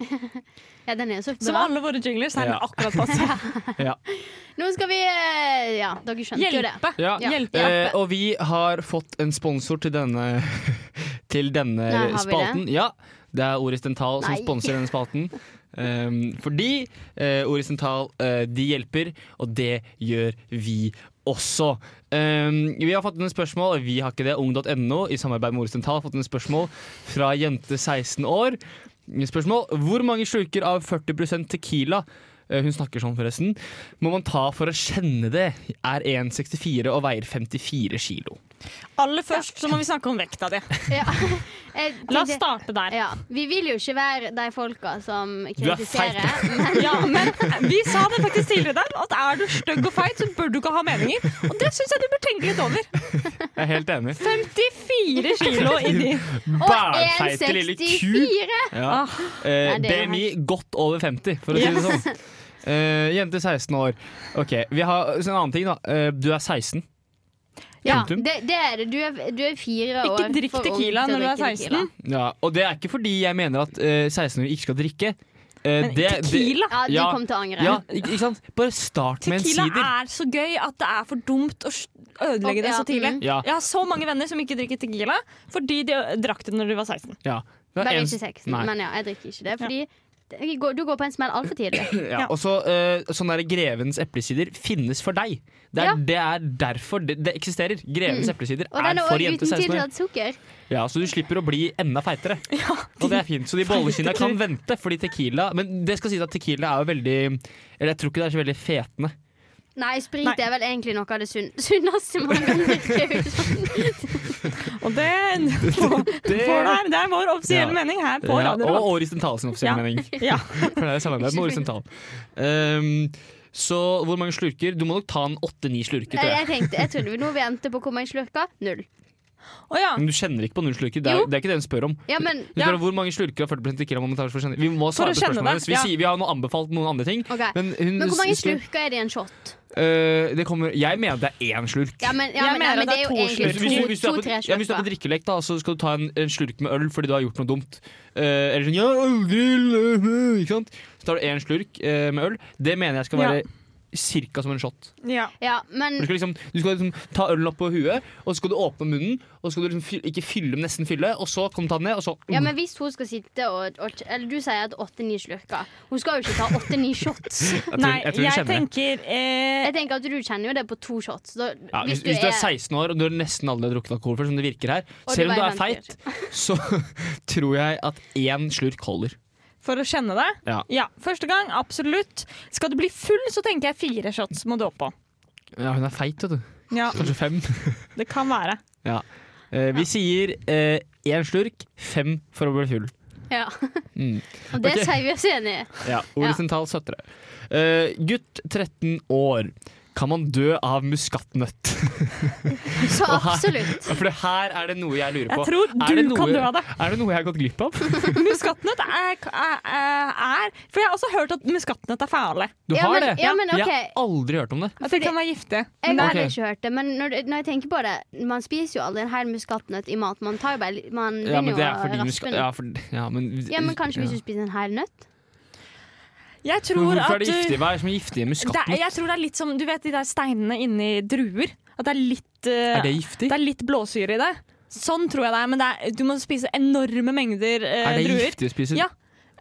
[SPEAKER 3] ja den er jo så
[SPEAKER 1] Som
[SPEAKER 3] bra.
[SPEAKER 1] alle våre jinglers er den
[SPEAKER 2] Ja.
[SPEAKER 1] akkurat passe.
[SPEAKER 3] Nå skal vi eh, Ja, dere skjønte jo det.
[SPEAKER 1] Hjelpe.
[SPEAKER 2] Ja.
[SPEAKER 1] Hjelpe.
[SPEAKER 2] Eh, og vi har fått en sponsor til denne, til denne
[SPEAKER 3] Nei, har vi
[SPEAKER 2] spalten. Ja, det er Oris Dental som
[SPEAKER 3] Nei.
[SPEAKER 2] sponser denne spalten. Um, fordi eh, Oris Dental eh, de hjelper, og det gjør vi også. Um, vi har fått noen spørsmål, vi har ikke det. Ung.no i samarbeid med Oris Dental har fått noen spørsmål fra jente 16 år. Spørsmål Hvor mange sluker av 40 Tequila eh, hun snakker sånn forresten. Må man ta for å kjenne det? Er 1,64 og veier 54 kilo.
[SPEAKER 1] Aller først så må vi snakke om vekta di.
[SPEAKER 3] Ja. Eh, Jeg
[SPEAKER 1] La oss
[SPEAKER 3] tenkte-
[SPEAKER 1] starte der.
[SPEAKER 3] Ja, Vi vil jo ikke være de folka som
[SPEAKER 2] Du er feit.
[SPEAKER 3] kritiserer.
[SPEAKER 1] Ja, men eh, Vi sa det faktisk tidligere i dag, at er du stygg og feit, så bør du ikke ha meninger. Og det syns jeg du bør tenke litt over.
[SPEAKER 2] Jeg er helt enig.
[SPEAKER 1] 54 kilo i de
[SPEAKER 3] Og
[SPEAKER 2] Bælfeite lille ku.
[SPEAKER 3] 1,64!
[SPEAKER 2] Ja. Eh,
[SPEAKER 3] Ah. Nei, det er jo
[SPEAKER 2] BMI godt over 50, for å si det sånn. Eh, jente 16 år. Ok, vi har så En annen ting, da. Eh, du er 16.
[SPEAKER 3] Ja,
[SPEAKER 2] Punktum.
[SPEAKER 3] det, det er det. Du er, du er fire år
[SPEAKER 1] Ikke drikk
[SPEAKER 3] for ung
[SPEAKER 1] Tequila
[SPEAKER 3] til å
[SPEAKER 1] når du er
[SPEAKER 3] drikke tequila.
[SPEAKER 1] 16.
[SPEAKER 2] Ja, og det er ikke fordi jeg mener at eh, 16-åringer ikke skal drikke. Eh,
[SPEAKER 1] Men
[SPEAKER 2] det-
[SPEAKER 1] Tequila
[SPEAKER 3] Ja, de
[SPEAKER 2] Ja.
[SPEAKER 3] kom til å
[SPEAKER 2] Det,
[SPEAKER 3] angre.
[SPEAKER 2] ja, ikke, ikke sant? Bare start med en
[SPEAKER 1] Tequila
[SPEAKER 2] sider.
[SPEAKER 1] er så gøy at det er for dumt å s- ødelegge det
[SPEAKER 3] Ja,
[SPEAKER 1] så tidlig.
[SPEAKER 3] mm.
[SPEAKER 2] Ja.
[SPEAKER 1] Jeg har så mange venner som ikke drikker Tequila fordi de ø, drakk det når de var 16.
[SPEAKER 2] Ja. Det er
[SPEAKER 3] Bare
[SPEAKER 2] en-
[SPEAKER 3] ikke sexen.
[SPEAKER 2] Nei.
[SPEAKER 3] Men ja, jeg drikker ikke det. Fordi det går- du går på en smell altfor tidlig.
[SPEAKER 2] Ja. Og så eh, sånn der Grevens eplesider finnes for deg. Det er,
[SPEAKER 3] Ja. Mm.
[SPEAKER 2] det er derfor det, det eksisterer. Grevens eplesider
[SPEAKER 3] Og
[SPEAKER 2] er
[SPEAKER 3] den er
[SPEAKER 2] for
[SPEAKER 3] også
[SPEAKER 2] jenter
[SPEAKER 3] uten
[SPEAKER 2] 16 år.
[SPEAKER 3] tilsatt sukker.
[SPEAKER 2] Ja, så du slipper å bli enda feitere. og det er fint. Så de bollekina kan vente, fordi tequila Men det skal sies at tequila er jo veldig Eller jeg tror ikke det er så veldig fetende.
[SPEAKER 3] Nei, sprit
[SPEAKER 1] Nei.
[SPEAKER 3] er vel egentlig noe av det sunn sunneste man kan drikke.
[SPEAKER 1] Og det, for, for der, det er vår offisielle
[SPEAKER 2] Ja.
[SPEAKER 1] mening her på
[SPEAKER 2] Ja,
[SPEAKER 1] Radio
[SPEAKER 2] og
[SPEAKER 1] Revolt.
[SPEAKER 2] Åris Dental sin offisielle
[SPEAKER 1] Ja.
[SPEAKER 2] mening.
[SPEAKER 1] Ja.
[SPEAKER 2] For det er samarbeid med Åris Dental. Ehm, så hvor mange slurker? Du må nok ta en åtte-ni slurker.
[SPEAKER 3] Nei,
[SPEAKER 2] Tror jeg.
[SPEAKER 3] Eh, Jeg tenkte, jeg trodde vi nå vi endte på hvor mange slurker. Null.
[SPEAKER 1] Å ja.
[SPEAKER 2] Men du kjenner ikke på null slurker. Det er,
[SPEAKER 3] Jo.
[SPEAKER 2] det er ikke det hun spør om.
[SPEAKER 3] Ja, men
[SPEAKER 2] Du spør om Hvor mange slurker av 40 tequila må man ta for å kjenne Vi må svare
[SPEAKER 1] å
[SPEAKER 2] på
[SPEAKER 1] kjenne
[SPEAKER 2] spørsmålet
[SPEAKER 1] det,
[SPEAKER 2] hennes. Vi,
[SPEAKER 1] ja.
[SPEAKER 2] sier, vi har nå anbefalt noen andre ting.
[SPEAKER 3] Ok.
[SPEAKER 2] Men, hun,
[SPEAKER 3] Men hvor mange
[SPEAKER 2] skrev-
[SPEAKER 3] slurker er det i en shot?
[SPEAKER 2] Eh, det kommer, jeg mener det er én slurk.
[SPEAKER 3] Ja, men, ja,
[SPEAKER 1] Jeg
[SPEAKER 3] men,
[SPEAKER 1] mener
[SPEAKER 3] ja, men
[SPEAKER 1] det
[SPEAKER 3] det
[SPEAKER 1] er
[SPEAKER 3] er jo
[SPEAKER 1] to
[SPEAKER 2] Hvis du,
[SPEAKER 3] egentlig
[SPEAKER 2] hvis, du er på,
[SPEAKER 3] to-tre
[SPEAKER 2] ja, hvis du er på
[SPEAKER 3] slurker.
[SPEAKER 2] drikkelek, da, så skal du ta en, en slurk med øl fordi du har gjort noe dumt. Eh, eller sånn ja, aldri, øh, øh», ikke sant? Så tar du én slurk eh, med øl. Det mener jeg skal være cirka som en shot.
[SPEAKER 1] ja.
[SPEAKER 3] Ja, men
[SPEAKER 2] Du skal, liksom, du skal liksom ta ølen opp på huet, og så skal du åpne munnen. Og så skal du liksom fylle, ikke fylle, men nesten fylle, og så kan du ta den ned, og så
[SPEAKER 3] Ja, men hvis hun skal sitte og, og Eller du sier at åtte-ni slurker. Hun skal jo ikke ta åtte-ni shots.
[SPEAKER 2] Jeg tror-
[SPEAKER 1] Nei,
[SPEAKER 2] jeg
[SPEAKER 1] jeg,
[SPEAKER 2] tror du kjenner det.
[SPEAKER 1] tenker eh,
[SPEAKER 3] Jeg tenker at Du kjenner jo det på to shots. Da,
[SPEAKER 2] Ja, hvis, hvis du er 16 år og du har nesten aldri drukket alkohol før, som det virker her,
[SPEAKER 3] Og
[SPEAKER 2] selv om
[SPEAKER 3] du
[SPEAKER 2] du
[SPEAKER 3] veier
[SPEAKER 2] er feit, så tror jeg at én slurk holder.
[SPEAKER 1] for å kjenne det.
[SPEAKER 2] Ja.
[SPEAKER 1] Første gang, absolutt. Skal du bli full, så tenker jeg fire shots må du opp på.
[SPEAKER 2] Ja, hun er feit, vet du.
[SPEAKER 1] Ja,
[SPEAKER 2] Kanskje fem.
[SPEAKER 1] det kan være.
[SPEAKER 2] Ja. Eh, vi sier eh, én slurk, fem for å bli full.
[SPEAKER 3] Ja.
[SPEAKER 2] Mm.
[SPEAKER 3] Og det
[SPEAKER 2] Ok.
[SPEAKER 3] sier vi oss enig i.
[SPEAKER 2] Ja, Ordet
[SPEAKER 3] Ja.
[SPEAKER 2] sentralt støtter det. Eh, gutt 13 år. Kan man dø av muskatnøtt?
[SPEAKER 3] Så
[SPEAKER 2] Og her-
[SPEAKER 3] absolutt.
[SPEAKER 2] For det her er det noe jeg lurer på.
[SPEAKER 1] Jeg tror
[SPEAKER 2] Er det
[SPEAKER 1] du kan
[SPEAKER 2] noe-
[SPEAKER 1] dø av det.
[SPEAKER 2] Er det noe jeg har gått glipp av?
[SPEAKER 1] Muskatnøtt er, er, er For jeg har også hørt at muskatnøtt er farlig.
[SPEAKER 2] Du
[SPEAKER 3] Ja,
[SPEAKER 2] har
[SPEAKER 3] men-
[SPEAKER 2] det?
[SPEAKER 3] ja, men
[SPEAKER 2] Jeg har
[SPEAKER 3] ok.
[SPEAKER 2] aldri hørt om det.
[SPEAKER 1] At de kan være giftige.
[SPEAKER 3] Jeg
[SPEAKER 1] Men
[SPEAKER 2] Ok.
[SPEAKER 3] har
[SPEAKER 1] det
[SPEAKER 3] heller ikke hørt det, men når, når jeg tenker på det Man spiser jo aldri en hel muskatnøtt i mat. Man tar jo bare li- Man
[SPEAKER 2] Ja, men
[SPEAKER 3] begynner
[SPEAKER 2] det
[SPEAKER 3] jo
[SPEAKER 2] er
[SPEAKER 3] å
[SPEAKER 2] fordi
[SPEAKER 3] raspe
[SPEAKER 2] muskat...
[SPEAKER 3] den.
[SPEAKER 2] Ja, for, ja, men,
[SPEAKER 3] Ja, men kanskje hvis du spiser en hel nøtt?
[SPEAKER 1] er- jeg
[SPEAKER 2] Men
[SPEAKER 1] tror
[SPEAKER 2] Hvorfor
[SPEAKER 1] at
[SPEAKER 2] er det giftig?
[SPEAKER 1] du
[SPEAKER 2] Hva er det som er giftig i
[SPEAKER 1] det er,
[SPEAKER 2] muskatnøtt?
[SPEAKER 1] Jeg tror det er litt som Du vet de der steinene inni druer? At det er litt eh,
[SPEAKER 2] Er det giftig?
[SPEAKER 1] det er litt blåsyre i det. Sånn tror jeg det er, men det er, du må spise enorme mengder eh,
[SPEAKER 2] Er det
[SPEAKER 1] druer.
[SPEAKER 2] giftig å spise?
[SPEAKER 1] Ja,